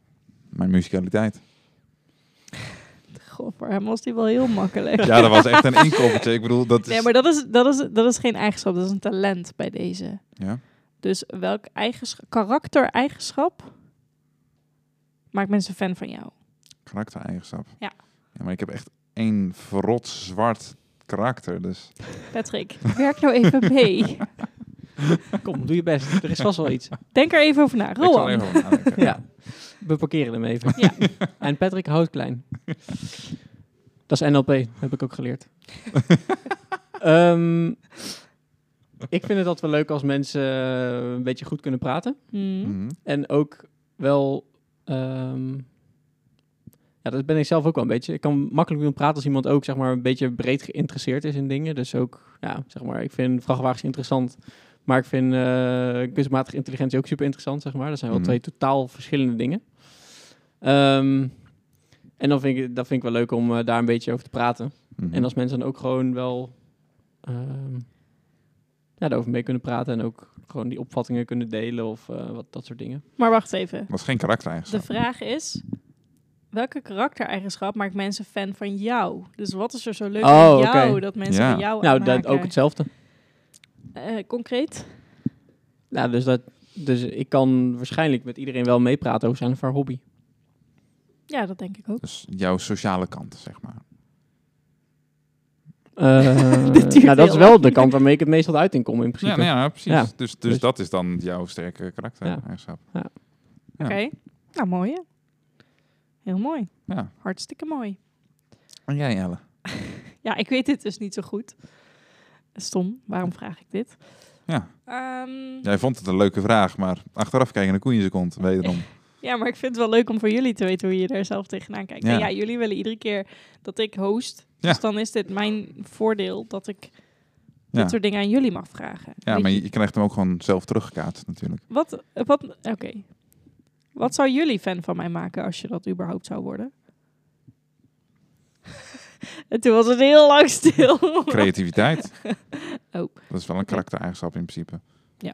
S1: Mijn musicaliteit.
S2: Michael. Voor hem was die wel heel makkelijk.
S1: Ja, dat was echt een inkoppertje. Ik bedoel, dat is...
S2: Nee, maar dat is, dat, is, dat is geen eigenschap, dat is een talent bij deze.
S1: Ja.
S2: Dus welk eigenschap, karaktereigenschap maakt mensen fan van jou?
S1: Karaktereigenschap.
S2: Ja.
S1: ja. Maar ik heb echt één verrot zwart karakter, dus...
S2: Patrick, werk nou even mee.
S3: Kom, doe je best. Er is vast wel iets.
S2: Denk er even over na.
S1: Ik zal
S2: Rowan.
S1: even over nadenken.
S3: Ja. We parkeren hem even.
S2: Ja.
S3: En Patrick houdt klein. Dat is NLP, heb ik ook geleerd. Ehm, ik vind het altijd wel leuk als mensen eh, een beetje goed kunnen praten.
S2: Hmm.
S1: Mhm.
S3: En ook wel... ehm, ja, dat ben ik zelf ook wel een beetje. Ik kan makkelijk doen praten als iemand ook zeg maar, een beetje breed geïnteresseerd is in dingen. Dus ook, ja, zeg maar, ik vind vrachtwagens interessant. Maar ik vind eh, kunstmatige intelligentie ook super interessant, zeg maar. Dat zijn wel
S1: Mhm.
S3: twee totaal verschillende dingen. Ehm, en dan vind ik, dat vind ik wel leuk om eh, daar een beetje over te praten.
S1: Mhm.
S3: En als mensen dan ook gewoon wel ehm ja, daarover mee kunnen praten en ook gewoon die opvattingen kunnen delen of eh, wat, dat soort dingen.
S2: Maar wacht even.
S1: Dat is geen
S2: De
S1: karaktereigenschap.
S2: vraag is, welke karaktereigenschap maakt mensen fan van jou? Dus wat is er zo leuk
S3: Oh,
S2: aan jou
S3: oké.
S2: dat mensen
S1: Ja.
S2: van jou
S3: nou, dat
S2: aanhaken?
S3: ook hetzelfde.
S2: Eh, concreet?
S3: Nou, dus, dat, dus ik kan waarschijnlijk met iedereen wel meepraten over zijn of haar hobby.
S2: Ja, dat denk ik ook.
S1: Dus jouw sociale kant, zeg maar.
S3: Eh,
S2: Dit duurt
S3: nou, dat is
S2: heel
S3: wel
S2: lang.
S3: de kant waarmee ik het meestal uit in kom in
S1: Ja,
S3: principe.
S1: nou ja, precies.
S3: Ja.
S1: Dus, dus,
S3: Dus-
S1: dat is dan jouw sterke karaktereigenschap. Ja.
S2: Oké. Nou, mooi hè? Heel mooi.
S1: Ja.
S2: Hartstikke mooi.
S1: En jij, Jelle?
S2: Ja, ik weet dit dus niet zo goed. Stom, waarom vraag ik dit?
S1: Ja.
S2: Ehm,
S1: Jij vond het een leuke vraag, maar achteraf kijken naar koeien ze kont, wederom.
S2: Ja, maar ik vind het wel leuk om voor jullie te weten hoe je daar zelf tegenaan kijkt.
S1: Ja.
S2: En ja, jullie willen iedere keer dat ik host.
S1: Ja.
S2: Dus dan is dit mijn voordeel dat ik
S1: Ja.
S2: dit soort dingen aan jullie mag vragen.
S1: Ja,
S2: Weet
S1: maar
S2: je-
S1: je, je krijgt hem ook gewoon zelf teruggekaatst natuurlijk.
S2: Wat, wat, oké. Wat zou jullie fan van mij maken als je dat überhaupt zou worden? en toen was het heel lang stil.
S1: Creativiteit.
S2: Oh.
S1: Dat is wel een karaktereigenschap in principe.
S2: Ja.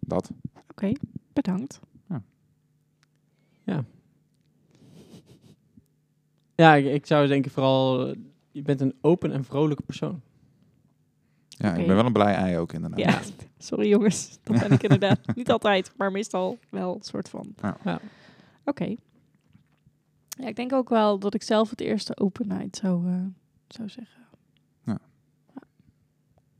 S1: Dat.
S2: Bedankt.
S3: Ja, ik, ik zou dus denken vooral, eh, je bent een open en vrolijke persoon.
S1: Ja,
S2: Oké.
S1: ik ben wel een blij ei ook inderdaad.
S2: Ja, sorry jongens. Dat ben ik inderdaad niet altijd, maar meestal wel een soort van.
S1: Ja.
S3: Ja.
S2: Oké. Ja, ik denk ook wel dat ik zelf het eerste openheid zou, eh, zou zeggen.
S1: Ja.
S2: Ja.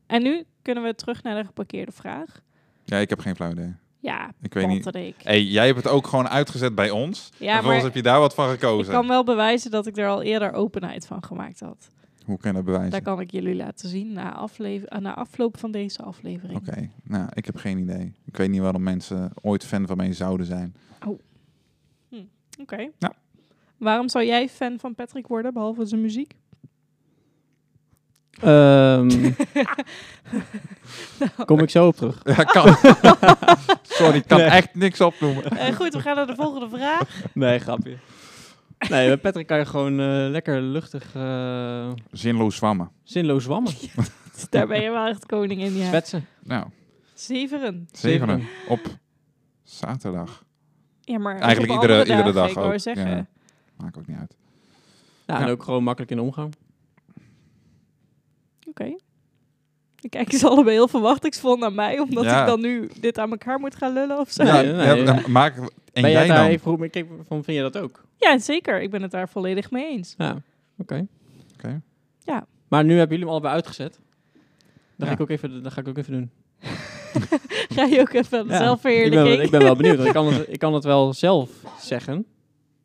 S2: En nu kunnen we terug naar de geparkeerde vraag.
S1: Ja, ik heb geen flauw idee.
S2: Ja,
S1: Ik weet niet.
S2: Patrick.
S1: hey, jij hebt het ook gewoon uitgezet bij ons. en
S2: Ja,
S1: vervolgens
S2: maar
S1: heb je daar wat van
S2: ik
S1: gekozen.
S2: kan wel bewijzen dat ik er al eerder openheid van gemaakt had.
S1: Hoe kan je dat bewijzen?
S2: Daar kan ik jullie laten zien na, aflever- eh, na afloop van deze aflevering.
S1: Oké, nou, ik heb geen idee. Ik weet niet waarom mensen ooit fan van mij zouden zijn.
S2: Oké.
S1: Ja.
S2: Waarom zou jij fan van Patrick worden, behalve zijn muziek?
S3: Ehm,
S2: Nou.
S3: kom ik zo op terug.
S1: Ja, kan. Sorry, ik kan
S3: Nee.
S1: echt niks opnoemen.
S2: Eh, goed, we gaan naar de volgende vraag.
S3: Nee, grapje. Nee, met Patrick kan je gewoon eh, lekker luchtig... eh,
S1: Zinloos zwammen.
S3: Zinloos zwammen.
S2: Daar ben je wel echt koning in, ja.
S3: Zwetsen.
S1: Nou,
S2: Zeveren.
S1: zevenen.
S3: Zevenen.
S1: Op zaterdag.
S2: Ja, maar ook
S1: Eigenlijk
S2: op
S1: iedere-
S2: andere
S1: iedere
S2: dagen,
S1: dag
S2: ik wou
S1: ook,
S2: zeggen.
S1: ja. Maakt ook niet uit.
S3: Ja, en
S1: Ja.
S3: ook gewoon makkelijk in de omgang.
S2: Oké. Dan kijken ze allebei heel verwachtingsvol naar mij, omdat
S1: Ja.
S2: ik dan nu dit aan elkaar moet gaan lullen of zo.
S3: Nee,
S1: ja,
S2: Ja,
S3: nee,
S1: ja,
S3: nee.
S1: dan maak, en
S3: ben
S1: jij
S3: jij daar
S1: dan?
S3: even goed mee? Kijk, van vind je dat ook?
S2: zeker. Ik ben het daar volledig mee eens.
S3: Ja, oké.
S1: Oké.
S2: Ja.
S3: Maar nu hebben jullie hem allebei uitgezet. Dat, ga,
S1: Ja.
S3: ik ook even, dat ga ik ook even doen.
S2: Ga je ook even aan de
S3: Ja, Ik ben, wel-
S2: zelfverheerlijking?
S3: ik ben wel benieuwd. want ik, kan het, ik kan het wel zelf zeggen.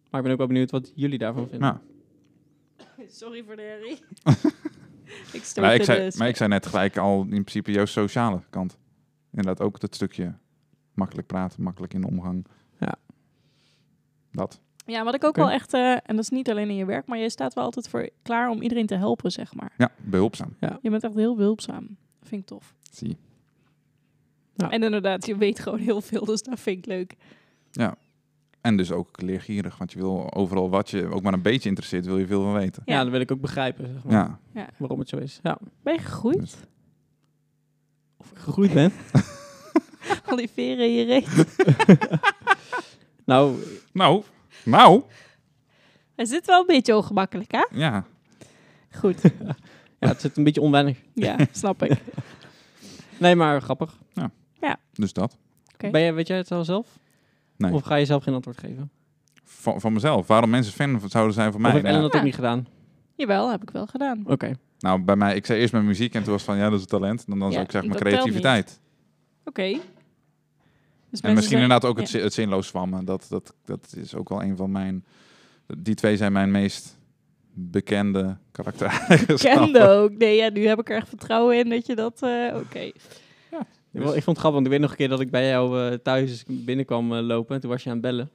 S3: Maar ik ben ook wel benieuwd wat jullie daarvan vinden.
S1: Nou,
S2: Sorry voor de herrie. dus. ik stoot
S1: maar, ik
S2: in
S1: zei,
S2: de
S1: maar ik zei net gelijk al in principe jouw sociale kant. Inderdaad ook dat stukje makkelijk praten, makkelijk in de omgang.
S3: Ja.
S1: Dat.
S2: Ja, wat ik ook
S3: Oké.
S2: wel echt, eh, en dat is niet alleen in je werk, maar je staat wel altijd voor klaar om iedereen te helpen, zeg maar.
S1: Ja, behulpzaam.
S2: Je bent echt heel hulpzaam. Vind ik tof.
S1: Zie.
S3: Ja.
S2: En inderdaad, je weet gewoon heel veel, dus dat vind ik leuk.
S1: En dus ook leergierig, want je wil overal wat je ook maar een beetje interesseert, wil je veel van weten.
S3: ja.
S2: ja.
S3: dan wil ik ook begrijpen zeg maar,
S1: Ja,
S3: waarom het zo is. Ja.
S2: Ben je gegroeid?
S1: Dus-
S3: Of ik gegroeid ben.
S2: Al die veren in je reet.
S3: nou,
S1: nou, nou,
S2: Is dit wel een beetje ongemakkelijk, hè?
S1: Ja,
S2: Goed,
S3: Ja, het zit een beetje onwennig.
S2: ja, snap ik.
S3: Nee, maar grappig.
S1: dus dat.
S2: Oké.
S3: Ben jij, weet jij het al zelf?
S1: Nee.
S3: Of ga je zelf geen antwoord geven?
S1: Van, van mezelf. Waarom mensen fan van- zouden zijn van
S3: of
S1: mij.
S3: heeft Ellen
S1: Ja.
S3: dat ook niet gedaan?
S2: Jawel, heb ik wel gedaan.
S3: Oké. Okay.
S1: Nou, bij mij, ik zei eerst mijn muziek en toen was het van ja, dat is talent. En dan, dan
S2: Ja,
S1: zou ik zeggen mijn
S2: dat telt
S1: creativiteit.
S2: Oké. Dus
S1: En
S2: mensen
S1: misschien
S2: zijn-
S1: inderdaad ook het, zi- het zinloos zwammen. Dat, dat, dat is ook wel een van mijn... Die twee zijn mijn meest bekende karaktereigenschappen.
S2: Kende ook. Nee, ja, nu heb ik er echt vertrouwen in dat je dat... eh, Oké.
S3: Ik vond het grappig, want ik weet nog een keer dat ik bij jou eh, thuis binnenkwam eh, lopen. En toen was je aan het bellen.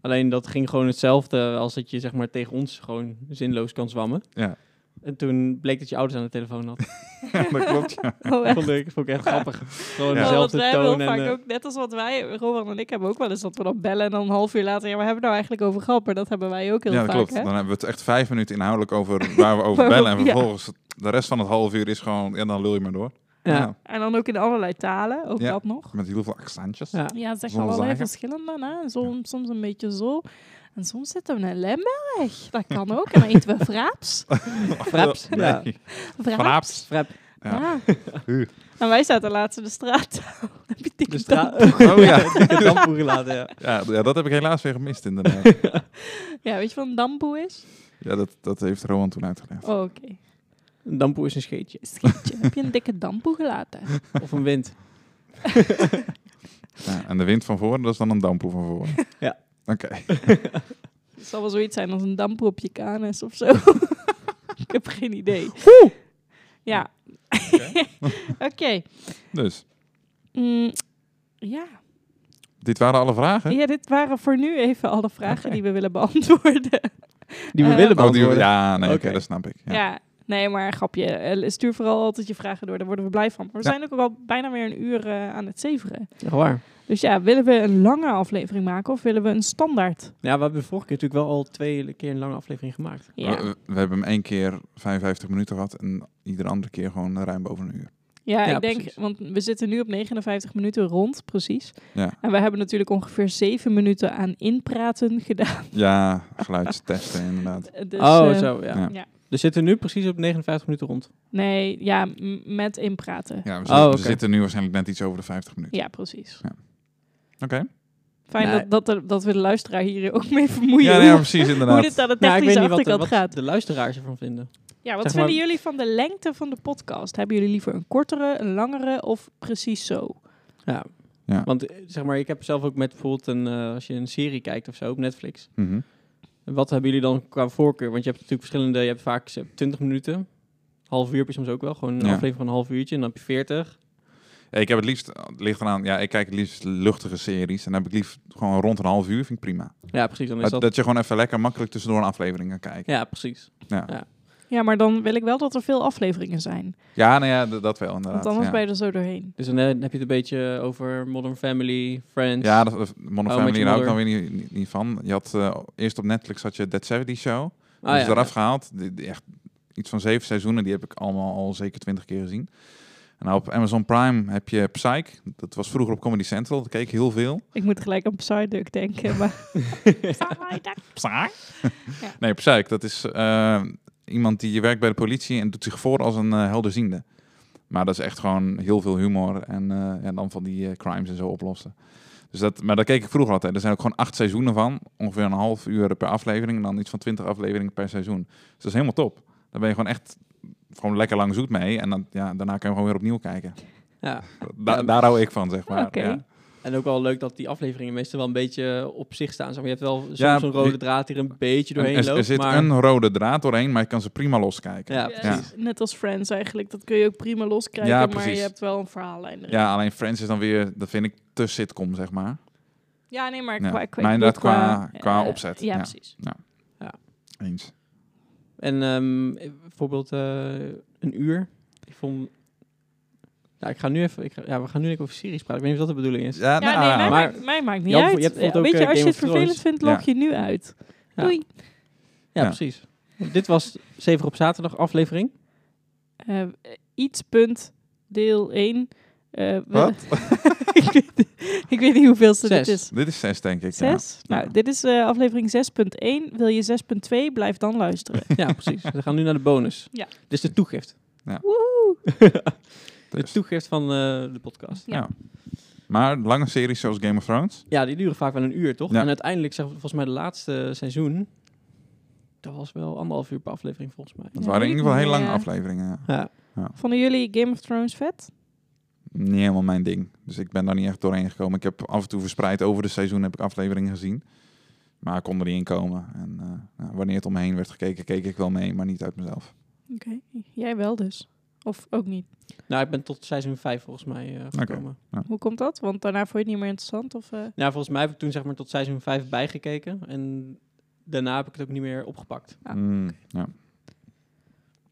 S3: Alleen dat ging gewoon hetzelfde als dat je zeg maar tegen ons gewoon zinloos kan zwammen.
S1: Ja.
S3: En toen bleek dat je ouders aan de telefoon had.
S1: Ja, dat klopt, ja.
S2: Oh,
S3: Dat
S2: echt.
S3: vond ik, vond ik echt grappig. Gewoon
S1: Ja.
S2: Oh, want
S3: dezelfde
S2: wij hebben
S3: toon.
S2: heel
S3: En,
S2: vaak
S3: eh,
S2: ook, net als wat wij, Rowan en ik, hebben ook wel eens dat we dan bellen en dan een half uur later, ja, waar hebben we nou eigenlijk over gehad? Maar dat hebben wij ook heel
S1: ja, dat
S2: vaak,
S1: klopt. Nou.
S2: hè?
S1: Dan hebben we het echt vijf minuten inhoudelijk over waar we over bellen. En
S2: Ja.
S1: vervolgens de rest van het half uur is gewoon... Ja, dan lul je maar door.
S3: ja.
S1: Ja,
S2: En dan ook in allerlei talen, ook
S1: Ja.
S2: dat nog.
S1: met heel veel accentjes.
S3: Ja.
S2: Ja, het is echt
S1: Zonder
S2: allerlei
S1: zagen.
S2: verschillende, hè? Soms, soms een beetje zo. En soms zitten we een lemmerweg. Dat kan ook. En dan eten we fraaps.
S3: Fraps. Ja.
S1: Nee.
S2: Fraaps.
S1: Fraaps.
S3: Frap.
S2: Ja.
S1: Huh.
S2: En wij zaten laatst in de straat. Heb je
S3: De
S2: die
S3: straat.
S2: dan?
S1: Oh ja.
S3: Ik heb damp gelaten, ja.
S1: Ja, d- ja, dat heb ik helaas weer gemist inderdaad.
S2: Ja, weet je wat een damboe is?
S1: ja, dat, dat heeft Rowan toen uitgelegd.
S2: Oh, oké.
S3: Een dampoe is een scheetje.
S2: Schietje, heb je een dikke damboe gelaten?
S3: Of een wind.
S1: Ja, en de wind van voren, dat is dan een dampoe van voren.
S3: Ja.
S1: Oké.
S2: Het zal wel zoiets zijn als een dampoe op je kanus of zo. Ik heb geen idee. Ja. Oké.
S1: Dus,
S2: Mm, ja.
S1: dit waren alle vragen.
S2: ja, dit waren voor nu even alle vragen die we willen beantwoorden.
S3: Die we
S2: Eh,
S3: willen
S1: Oh, die-
S3: beantwoorden.
S1: ja, nee, oké,
S3: Oké.
S1: dat snap ik. Ja.
S2: Ja. Nee, maar grapje. Eh, Stuur vooral altijd je vragen door. Daar worden we blij van. Maar we
S1: Ja.
S2: zijn ook al bijna weer een uur eh, aan het zeveren.
S3: Echt waar.
S2: Dus ja, willen we een lange aflevering maken of willen we een standaard?
S3: Ja, we hebben de vorige keer natuurlijk wel al twee keer een lange aflevering gemaakt.
S2: Ja,
S1: We, we hebben hem één keer 55 minuten gehad en iedere andere keer gewoon ruim boven een uur.
S2: ja,
S3: Ja,
S2: ik denk,
S3: precies.
S2: want we zitten nu op 59 minuten rond, precies.
S1: Ja.
S2: En we hebben natuurlijk ongeveer zeven minuten aan inpraten gedaan.
S1: Ja, geluidstesten inderdaad.
S2: Dus,
S3: oh,
S2: eh,
S3: zo, ja.
S1: ja.
S2: ja.
S3: Dus zitten we nu precies op 59 minuten rond.
S2: Nee, ja, m- met inpraten. Ja,
S1: Ja, we, zi-
S3: Oh,
S1: we
S3: oké.
S1: zitten nu waarschijnlijk net iets over de 50 minuten.
S2: precies.
S1: Oké.
S2: Fijn
S3: Nee.
S2: dat, dat, dat we de luisteraar hier ook mee vermoeien.
S1: Ja,
S2: hoe-
S1: nee, ja, precies
S2: hoe
S1: inderdaad.
S2: dit aan de
S3: Nou,
S2: technische achterkant
S3: wat
S2: gaat.
S3: de luisteraars ervan vinden.
S2: Ja, wat
S3: Zeg
S2: vinden
S3: maar-
S2: jullie van de lengte van de podcast? Hebben jullie liever een kortere, een langere of precies zo?
S3: Ja.
S1: Ja.
S3: Want eh, zeg maar, ik heb zelf ook met bijvoorbeeld een, eh, als je een serie kijkt of zo op Netflix.
S1: Mhm.
S3: Wat hebben jullie dan qua voorkeur? Want je hebt natuurlijk verschillende, je hebt vaak eh, 20 minuten. Half uur heb je soms ook wel, gewoon
S1: Ja.
S3: een aflevering van een half uurtje. En dan heb je 40.
S1: Ja, ik heb het liefst, het ligt eraan, ja, ik kijk het liefst luchtige series. En dan heb ik liefst gewoon rond een half uur, vind ik prima.
S3: Ja, precies. Dan is
S1: Dat,
S3: dat...
S1: dat je gewoon even lekker makkelijk tussendoor een aflevering kan kijken.
S3: Ja, precies.
S2: Ja, maar dan wil ik wel dat er veel afleveringen zijn.
S1: Ja, nou ja, d- dat wel inderdaad.
S2: Want anders
S1: ja.
S2: ben je er zo doorheen.
S3: Dus dan eh, heb je het een beetje over Modern Family, Friends.
S1: Ja, dat, dat- Modern
S3: Oh, met
S1: Family
S3: je
S1: daar hou ik dan
S3: moeder.
S1: weer niet, niet, niet van. Je had eh, eerst op Netflix had je Dead 70 Show.
S3: Ah,
S1: dus
S3: ja,
S1: eraf
S3: ja.
S1: gehaald. Die, die echt iets van zeven seizoenen, die heb ik allemaal al zeker twintig keer gezien. En nou, op Amazon Prime heb je Psych. Dat was vroeger op Comedy Central. Dat keek ik heel veel.
S2: Ik moet gelijk aan Psyduck denken. Maar... Psyduck.
S1: Psych?
S2: Ja.
S1: Nee, Psych. Dat is eh, iemand die werkt bij de politie en doet zich voor als een eh, helderziende. Maar dat is echt gewoon heel veel humor en, eh, en dan van die eh, crimes en zo oplossen. Dus dat, maar daar keek ik vroeger altijd. Er zijn ook gewoon acht seizoenen van. Ongeveer een half uur per aflevering. En dan iets van twintig afleveringen per seizoen. Dus dat is helemaal top. Daar ben je gewoon echt gewoon lekker lang zoet mee. En dan, ja, daarna kan je gewoon weer opnieuw kijken.
S3: Ja.
S1: Da- daar hou ik van, zeg maar.
S2: Oké.
S1: Ja.
S3: En ook wel leuk dat die afleveringen meestal wel een beetje op zich staan. Zeg maar, je hebt wel soms
S1: Ja,
S3: een rode
S1: die-
S3: draad die er een beetje
S1: En
S3: doorheen
S1: Er,
S3: loopt.
S1: er zit
S3: maar...
S1: een rode draad doorheen, maar je kan ze prima loskijken.
S3: Ja,
S2: Ja,
S3: precies.
S2: Net als Friends eigenlijk. Dat kun je ook prima loskrijgen.
S1: Ja,
S2: maar
S1: precies.
S2: je hebt wel een verhaallijn erin. Ja,
S1: Ja, alleen Friends is dan weer, dat vind ik te sitcom, zeg maar.
S2: nee, maar
S1: Ja.
S2: qua, qua,
S1: Maar
S2: ik
S1: inderdaad,
S2: bedoel
S1: qua- qua
S2: eh,
S1: opzet,
S2: Ja,
S1: ja.
S2: precies.
S1: Eens.
S3: En ehm, bijvoorbeeld eh, een uur. Ik vond... Ja, ik ga nu even... Ik ga- ja, we gaan nu even over series praten. Ik weet niet of dat de bedoeling is.
S1: Ja,
S2: Ja,
S1: nou,
S2: nee,
S1: ja.
S2: mij,
S3: maar-
S2: maakt, mij maakt niet
S3: Jan, je
S2: uit.
S3: hebt bijvoorbeeld
S2: Ja,
S3: ook,
S2: Weet
S3: eh,
S2: je, als je
S3: Game
S2: het
S3: of Thrones.
S2: vervelend vindt,
S1: Ja.
S2: log je nu uit.
S3: Ja.
S2: Doei.
S3: Ja,
S1: Ja.
S3: precies. Dit was 7 op zaterdag aflevering.
S2: Eh, iets punt deel 1.
S1: Wat?
S2: ik, weet, ik weet niet hoeveel
S3: Zes.
S2: het is.
S1: Dit is 6, denk ik. ja.
S2: Zes? Nou, dit is eh, aflevering 6.1. Wil je 6.2? Blijf dan luisteren.
S3: Ja, precies. We gaan nu naar de bonus.
S2: Ja.
S3: Dus de toegift.
S2: Woehoe.
S3: De
S1: Dus.
S3: toegift van eh, de podcast.
S1: Ja. Maar lange series zoals Game of Thrones.
S3: Ja, die duren vaak wel een uur, toch?
S1: Ja.
S3: En uiteindelijk, zeg, volgens mij, de laatste seizoen. Dat was wel anderhalf uur per aflevering, volgens mij.
S1: Dat
S2: Ja,
S1: waren in
S2: weet
S1: ieder geval
S2: ik
S1: hele lange
S2: niet, ja.
S1: afleveringen. ja.
S3: Ja.
S2: Vonden jullie Game of Thrones vet?
S1: Niet helemaal mijn ding. Dus ik ben daar niet echt doorheen gekomen. Ik heb af en toe verspreid over de seizoen heb ik afleveringen gezien. Maar ik kon er niet in komen. En eh, nou, wanneer het omheen werd gekeken, keek ik wel mee, maar niet uit mezelf.
S2: Oké. Jij wel dus. Of ook niet.
S3: Nou, ik ben tot seizoen 5 volgens mij eh, gekomen.
S2: Hoe komt dat? Want daarna vond je het niet meer interessant? Of, eh,
S3: Nou, volgens mij heb ik toen zeg maar tot seizoen 5 bijgekeken. En daarna heb ik het ook niet meer opgepakt.
S2: Ah,
S1: Mm, ja.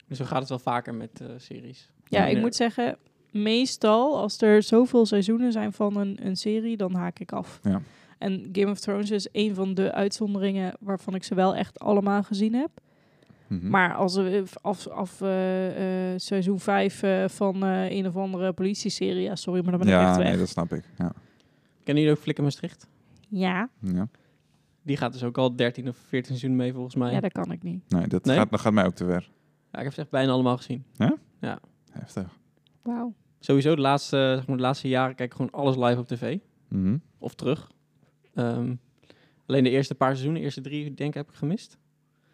S3: Dus zo gaat het wel vaker met eh, series.
S2: Ja, ik
S3: Wanneer-
S2: moet zeggen, meestal als er zoveel seizoenen zijn van een, een serie, dan haak ik af.
S1: Ja.
S2: En Game of Thrones is een van de uitzonderingen waarvan ik ze wel echt allemaal gezien heb.
S1: Mhm.
S2: Maar als we af, af eh, eh, seizoen 5 van eh, een of andere politieserie, ja, sorry, maar dan ben ik
S1: ja,
S2: echt weg.
S1: nee, dat snap ik. Ja.
S3: Kennen jullie ook Flikker Maastricht?
S2: Ja.
S1: Ja.
S3: Die gaat dus ook al 13 of 14 seizoenen mee, volgens mij.
S2: ja,
S3: Ja,
S2: dat kan ik niet.
S1: Nee, dat,
S3: Nee?
S1: Gaat, dat gaat mij ook te ver.
S3: ik heb ze echt bijna allemaal gezien.
S1: Heftig.
S2: Wauw.
S3: Sowieso de laatste, zeg maar, de laatste jaren kijk ik gewoon alles live op tv.
S1: Mhm.
S3: Of terug. Ehm, alleen de eerste paar seizoenen, de eerste drie, denk ik, heb ik gemist.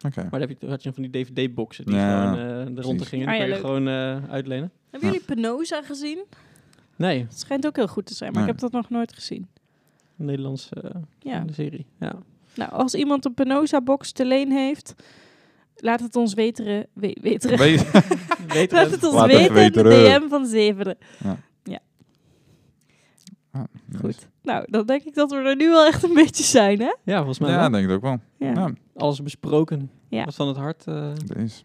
S1: Oké.
S3: Maar dan heb je, had je van die DVD-boxen die
S1: Ja,
S3: gewoon eh de ronde
S1: precies.
S3: gingen.
S2: Ah,
S3: Die
S2: ja,
S3: kon je
S2: leuk.
S3: gewoon eh, uitlenen.
S2: Hebben
S1: Ja.
S2: jullie Penosa gezien?
S3: Nee,
S2: Het schijnt ook heel goed te zijn, maar
S1: Nee.
S2: ik heb dat nog nooit gezien.
S3: een Nederlandse eh,
S2: Ja.
S3: serie. Ja.
S2: Nou, als iemand een Penosa-box te leen heeft, laat het ons weteren. We weteren.
S1: Weet-
S3: Weet
S2: Laat het ons
S1: Laat het
S2: weten,
S1: weten.
S2: in de DM van Zeveren.
S1: Ah,
S2: Goed. Nou, dan denk ik dat we er nu wel echt een beetje zijn, hè?
S3: Ja, volgens mij
S1: Ja,
S3: wel.
S1: denk ik ook wel.
S2: Nou, Ja.
S1: Ja,
S3: alles besproken.
S2: Ja.
S3: Wat van het hart. eh,
S1: dat is.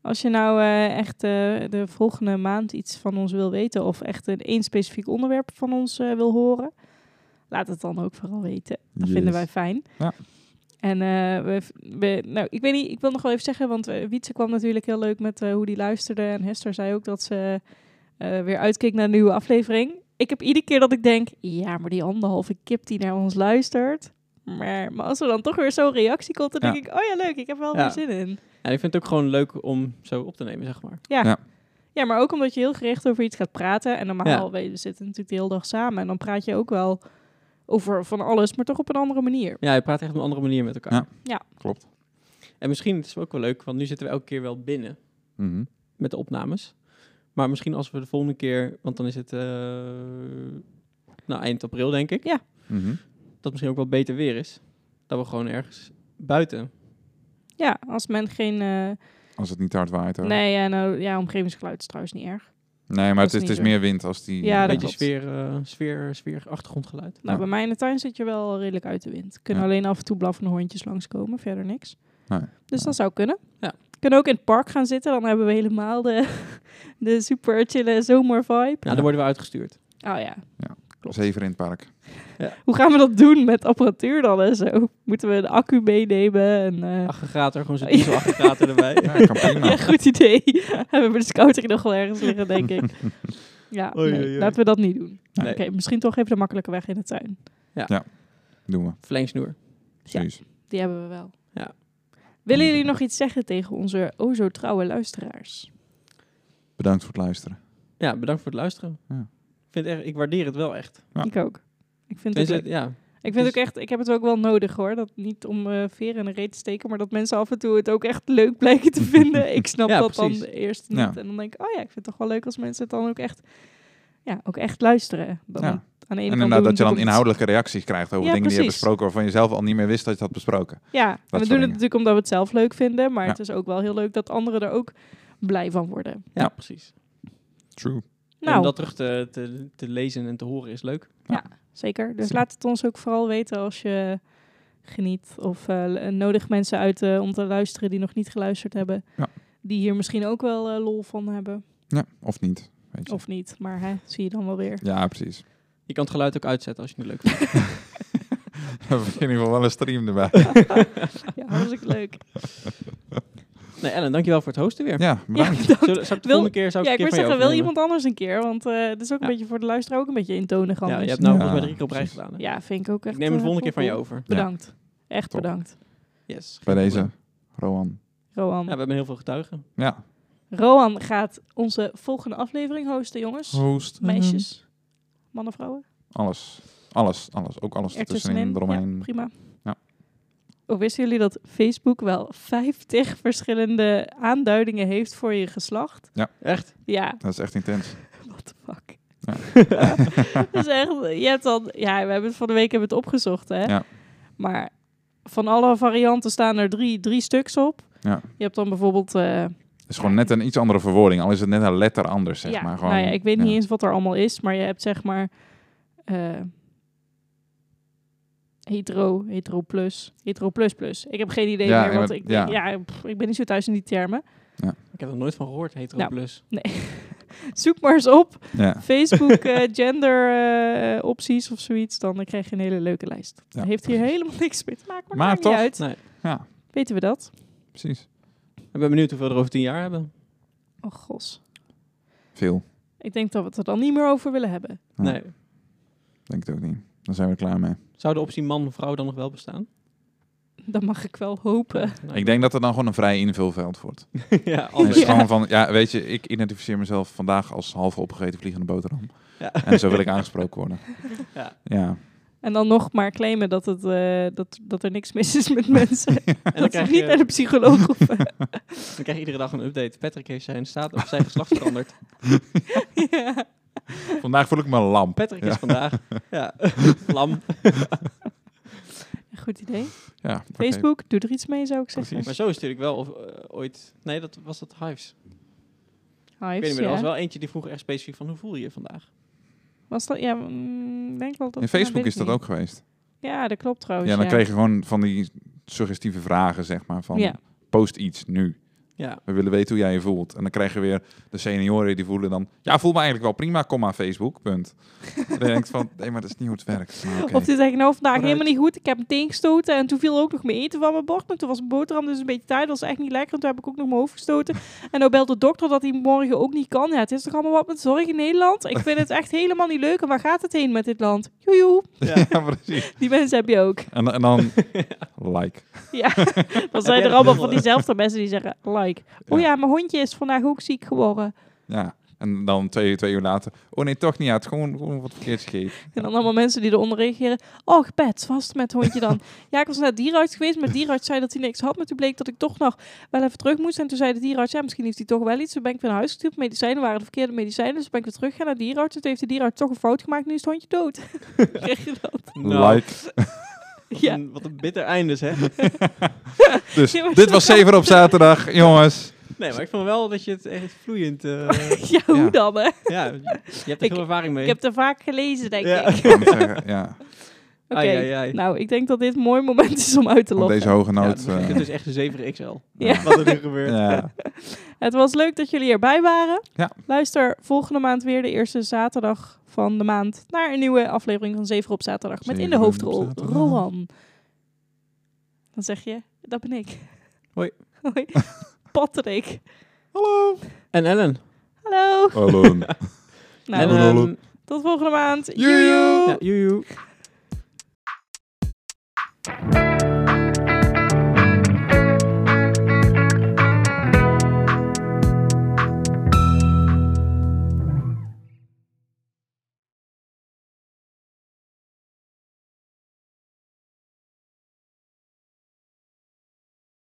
S2: Als je nou eh, echt eh, de volgende maand iets van ons wil weten... of echt een één specifiek onderwerp van ons eh, wil horen... laat het dan ook vooral weten. Dat vinden wij fijn.
S1: Ja.
S2: En eh, we, we, nou, ik weet niet, ik wil nog wel even zeggen, want eh, Wietse kwam natuurlijk heel leuk met eh, hoe die luisterde. En Hester zei ook dat ze eh, weer uitkeek naar een nieuwe aflevering. Ik heb iedere keer dat ik denk, ja, maar die anderhalve kip die naar ons luistert. Maar, maar als er dan toch weer zo'n reactie komt, dan
S1: Ja.
S2: denk ik, oh ja, leuk, ik heb wel
S3: Ja.
S2: weer zin in.
S3: en ik vind het ook gewoon leuk om zo op te nemen, zeg maar.
S2: Ja.
S1: Ja.
S2: ja. maar ook omdat je heel gericht over iets gaat praten. En normaal,
S3: Ja.
S2: we we zitten natuurlijk de hele dag samen. En dan praat je ook wel over van alles, maar toch op een andere manier.
S3: Ja, je praat echt op een andere manier met elkaar.
S1: Ja.
S2: Ja.
S1: Klopt.
S3: En misschien het is het ook wel leuk, want nu zitten we elke keer wel binnen
S1: Mhm.
S3: met de opnames. Maar misschien als we de volgende keer, want dan is het eh, nou, eind april denk ik,
S1: Mhm.
S3: dat misschien ook wel beter weer is. Dat we gewoon ergens buiten.
S2: Ja, als men geen... eh,
S1: Als het niet hard waait. hoor.
S2: Nee, ja, nou, ja, omgevingsgeluid is trouwens niet erg.
S1: Nee, maar
S2: Dat
S1: het is,
S2: is
S1: het
S2: niet
S1: is
S2: zo.
S1: meer wind als die.
S2: Ja,
S3: een
S2: dat
S3: beetje
S2: klopt.
S3: sfeer, eh, sfeer, sfeer, achtergrondgeluid.
S2: Nou,
S1: Ja.
S2: bij mij in de tuin zit je wel redelijk uit de wind. Kunnen
S1: Ja.
S2: alleen af en toe blaffende hondjes langskomen, verder niks.
S1: Nee.
S2: Dus dat zou kunnen.
S3: Ja.
S2: Kunnen ook in het park gaan zitten, dan hebben we helemaal de, de super chille zomervibe.
S3: Ja, Nou, dan worden we uitgestuurd.
S2: Oh ja, klopt.
S1: Zeven in het park.
S2: hoe gaan we dat doen met apparatuur dan en zo? Moeten we de accu meenemen? En, eh,
S3: Aggregator, gewoon zo'n
S2: Ja.
S3: dieselaggregator erbij.
S1: Ja, kan prima.
S2: Ja, goed idee. we hebben de scouting nog wel ergens liggen, denk ik. Ja,
S3: Oei,
S2: nee,
S3: oei, oei.
S2: laten we dat niet doen.
S3: Nee.
S2: Oké, misschien toch even de makkelijke weg in de tuin.
S1: Doen we.
S3: Verlengsnoer.
S1: Precies.
S2: Die hebben we wel.
S3: Ja.
S2: Willen jullie nog iets zeggen tegen onze o zo trouwe luisteraars?
S1: Bedankt voor het luisteren.
S3: Ja, bedankt voor het luisteren.
S1: Ja.
S3: Ik vind echt, ik waardeer het wel echt.
S1: Ja.
S2: Ik ook. Ik vind, het
S3: Tenminste,
S2: leuk.
S3: ja,
S2: ik vind
S3: is-
S2: ook echt, ik heb het ook wel nodig hoor. Dat niet om eh veren in de reet te steken, maar dat mensen af en toe het ook echt leuk blijken te vinden. Ik snap
S3: Ja,
S2: dat
S3: precies.
S2: dan eerst niet.
S1: Ja.
S2: En dan denk ik, oh ja, ik vind het toch wel leuk als mensen het dan ook echt, ja, ook echt luisteren. Dan
S1: Ja.
S2: aan de
S1: En
S2: ene kant
S1: inderdaad
S2: doen
S1: dat je dan
S2: we natuurlijk om-
S1: inhoudelijke reacties krijgt over
S2: Ja,
S1: dingen die je hebt
S2: precies.
S1: besproken waarvan je zelf al niet meer wist dat je het had besproken.
S2: Ja, en we
S1: soort
S2: doen het
S1: dingen.
S2: natuurlijk omdat we het zelf leuk vinden. Maar
S1: Ja.
S2: het is ook wel heel leuk dat anderen er ook blij van worden.
S3: ja,
S1: Ja.
S3: precies.
S1: True.
S3: En om
S2: Nou,
S3: dat terug te, te, te lezen en te horen is leuk.
S2: Zeker. Dus
S1: Zeker.
S2: laat het ons ook vooral weten als je geniet. Of eh, l- eh, nodig mensen uit eh, om te luisteren die nog niet geluisterd hebben.
S1: Ja.
S2: Die hier misschien ook wel eh, lol van hebben.
S1: Ja, of niet. Weet je.
S2: Of niet. Maar hè, zie je dan wel weer.
S1: Ja, precies.
S3: Je kan het geluid ook uitzetten als je het niet leuk vindt.
S1: We hebben in ieder geval wel een stream erbij.
S2: Ja, hartstikke leuk.
S3: Nee, Ellen, dankjewel voor het hosten weer.
S1: Ja, bedankt.
S2: Ja, dat-
S3: Zullen, zou ik de volgende keer zou ik
S2: ja, ik
S3: een
S2: wil
S3: keer
S2: zeggen,
S3: van jou
S2: wil
S3: overnemen?
S2: iemand anders een keer? Want eh dit is ook
S3: Ja.
S2: een beetje voor de luisteraar ook een beetje intonig anders.
S3: Ja, je hebt nou
S1: Ja,
S3: volgens mij drie keer op rij
S1: precies.
S3: gedaan. hè?
S2: Ja, vind ik ook echt...
S3: Ik neem het
S2: eh,
S3: volgende keer van je
S2: cool.
S3: over.
S2: Bedankt. Echt
S1: Top.
S2: bedankt.
S3: Yes.
S1: Bij
S3: geen
S1: deze,
S3: probleem.
S1: Roan.
S2: Roan.
S3: Ja, we hebben heel veel getuigen.
S1: Ja,
S2: Roan gaat onze volgende aflevering hosten, jongens.
S1: host.
S2: Meisjes. Mannen, vrouwen.
S1: Alles. Alles, alles. Ook alles ertussenin,
S2: Ertussenin. Ja,
S1: eromheen.
S2: prima.
S1: Ja.
S2: Ook wisten jullie dat Facebook wel 50 verschillende aanduidingen heeft voor je geslacht?
S3: Echt?
S2: Ja,
S1: Dat is echt intens.
S2: what the fuck.
S1: Ja.
S2: dus echt, je hebt dan, ja, we hebben het van de week hebben we het opgezocht, hè?
S1: Ja.
S2: Maar van alle varianten staan er drie, drie stuks op.
S1: Ja.
S2: Je hebt dan bijvoorbeeld, eh,
S1: Het is gewoon net een iets andere verwoording. Al is het net een letter anders, zeg
S2: ja,
S1: maar. Gewoon,
S2: nou ja, ik weet
S1: ja.
S2: niet eens wat er allemaal is, maar je hebt zeg maar eh, hetero, hetero plus, hetero plus plus. Ik heb geen idee
S1: Ja,
S2: meer,
S1: en
S2: want
S1: wat-
S2: ik,
S1: ja.
S2: ja. pff, ik ben niet zo thuis in die termen.
S3: Ik heb er nooit van gehoord, hetero
S2: Nou.
S3: plus.
S2: Zoek maar eens op
S1: Ja.
S2: Facebook eh, gender eh, opties of zoiets, dan krijg je een hele leuke lijst.
S1: Ja,
S2: Dat heeft hier
S1: precies.
S2: helemaal niks mee te maken, maar,
S1: Maar
S2: maakt
S1: toch-
S2: niet uit.
S3: Nee.
S1: ja,
S2: Weten we dat?
S1: precies.
S3: Ik ben benieuwd hoeveel we er over tien jaar hebben.
S2: Oh gos.
S1: Veel.
S2: Ik denk dat we het er dan niet meer over willen hebben.
S1: Ja.
S3: Nee.
S1: Denk het ook niet. Dan zijn we er klaar mee.
S3: Zou de optie man-vrouw dan nog wel bestaan?
S2: Dat mag ik wel hopen.
S3: Nee.
S1: Ik denk dat het dan gewoon een vrij invulveld wordt.
S3: ja,
S1: En het is
S3: anders.
S1: gewoon van, Oh, ja, weet je, ik identificeer mezelf vandaag als halve opgegeten vliegende boterham.
S3: Ja.
S1: En zo wil ik aangesproken worden.
S3: Ja.
S1: Ja.
S2: En dan nog maar claimen dat, het, eh, dat, dat er niks mis is met mensen.
S3: En dan
S2: dat ze
S3: krijg,
S2: niet naar
S3: je,
S2: de psycholoog of... eh,
S3: dan krijg je iedere dag een update. Patrick heeft zijn staat of zijn geslacht veranderd.
S2: ja.
S1: Vandaag voel ik me lamp.
S3: Patrick is vandaag ja, lam.
S2: Goed idee.
S1: Ja, oké.
S2: Facebook, doe er iets mee zou ik zeggen.
S1: Precies.
S3: Maar zo is natuurlijk wel of, eh, ooit... Nee, dat was dat Hives.
S2: Hives,
S3: Ik weet niet meer, er
S2: ja.
S3: was wel eentje die vroeg echt specifiek van hoe voel je je vandaag?
S2: Was dat... Ja, mm, denk wel dat...
S1: In
S2: nou,
S1: Facebook
S2: weet
S1: is dat
S2: ik niet.
S1: ook geweest.
S2: Oh, Ja, dat klopt trouwens.
S1: Ja, dan kreeg je gewoon van die suggestieve vragen, zeg maar. Van
S2: Ja.
S1: post iets nu.
S3: Ja.
S1: We willen weten hoe jij je voelt. En dan krijg je weer de senioren die voelen dan... Ja, voel me eigenlijk wel prima, kom maar Facebook, punt. dan denk ik van, nee, maar dat is niet hoe het werkt. Maar oké.
S2: Of die zeggen, nou vandaag
S3: Vooruit.
S2: helemaal niet goed. Ik heb een teen gestoten en toen viel ook nog mijn eten van mijn bord. Maar toen was mijn boterham dus een beetje taai. Dat was echt niet lekker. En toen heb ik ook nog mijn hoofd gestoten. En nou belt de dokter dat hij morgen ook niet kan. Ja, het is toch allemaal wat met zorg in Nederland? Ik vind het echt helemaal niet leuk. En waar gaat het heen met dit land? Joejoe.
S3: Ja.
S1: Ja, precies.
S2: Die mensen heb je ook.
S1: En, en dan like.
S2: Ja, dan
S3: jij
S2: zijn
S3: dat
S2: er allemaal
S3: wel?
S2: van diezelfde mensen die zeggen, like. Oh ja, mijn hondje is vandaag ook ziek geworden.
S1: Ja. En dan twee, twee uur later... Oh nee, toch niet. Ja, het is gewoon, gewoon wat verkeerd gegeten.
S2: En dan allemaal mensen die eronder reageren. Oh, Pet, vast met het hondje dan. ja, ik was naar de dierenarts geweest, maar de dierenarts zei dat hij niks had. Maar toen bleek dat ik toch nog wel even terug moest. En toen zei de dierenarts, ja, misschien heeft hij toch wel iets. Toen ben ik weer naar huis gestuurd. Medicijnen waren de verkeerde medicijnen. Dus toen ben ik weer terug gaan naar de dierenarts. En toen heeft de dierenarts toch een fout gemaakt. Nu is het hondje dood. Kreeg je dat?
S3: Nou,
S1: Like.
S3: wat
S2: Ja.
S3: een- Wat een bitter einde zeg.
S1: Dus
S2: Ja, maar
S1: dit
S2: zo
S1: was
S2: gaat
S1: 7 op zaterdag, jongens.
S3: Nee, maar ik vond wel dat je het echt vloeiend... eh,
S2: Ja, hoe
S1: Ja.
S2: dan, hè?
S3: ja, je hebt er
S2: Ik-
S3: veel ervaring mee.
S2: Ik heb het er vaak gelezen, denk
S3: Ja.
S2: ik.
S1: Ik wou net zeggen, ja,
S2: Oké,
S3: Ai, ai, ai.
S2: nou, ik denk dat dit een mooi moment is om uit te
S1: op
S2: loggen.
S1: deze hoge
S3: Ja,
S1: noot.
S3: dus
S1: eh,
S3: dit is echt een 7 XL.
S2: dus- Ja.
S3: Wat er nu gebeurt.
S1: ja.
S2: Het was leuk dat jullie erbij waren.
S1: Ja.
S2: Luister volgende maand weer de eerste zaterdag van de maand naar een nieuwe aflevering van Zeven op zaterdag met in de
S1: Zeven op
S2: hoofdrol
S1: zaterdag.
S2: Rohan. Dan zeg je, dat ben ik.
S3: Hoi.
S2: Hoi. Patrick.
S1: Hallo.
S3: En Ellen.
S2: Hallo.
S1: Hallo.
S2: Nou,
S3: en,
S1: Hallo.
S3: ehm,
S2: tot volgende maand.
S1: Joejoe.
S3: ja, joejoe.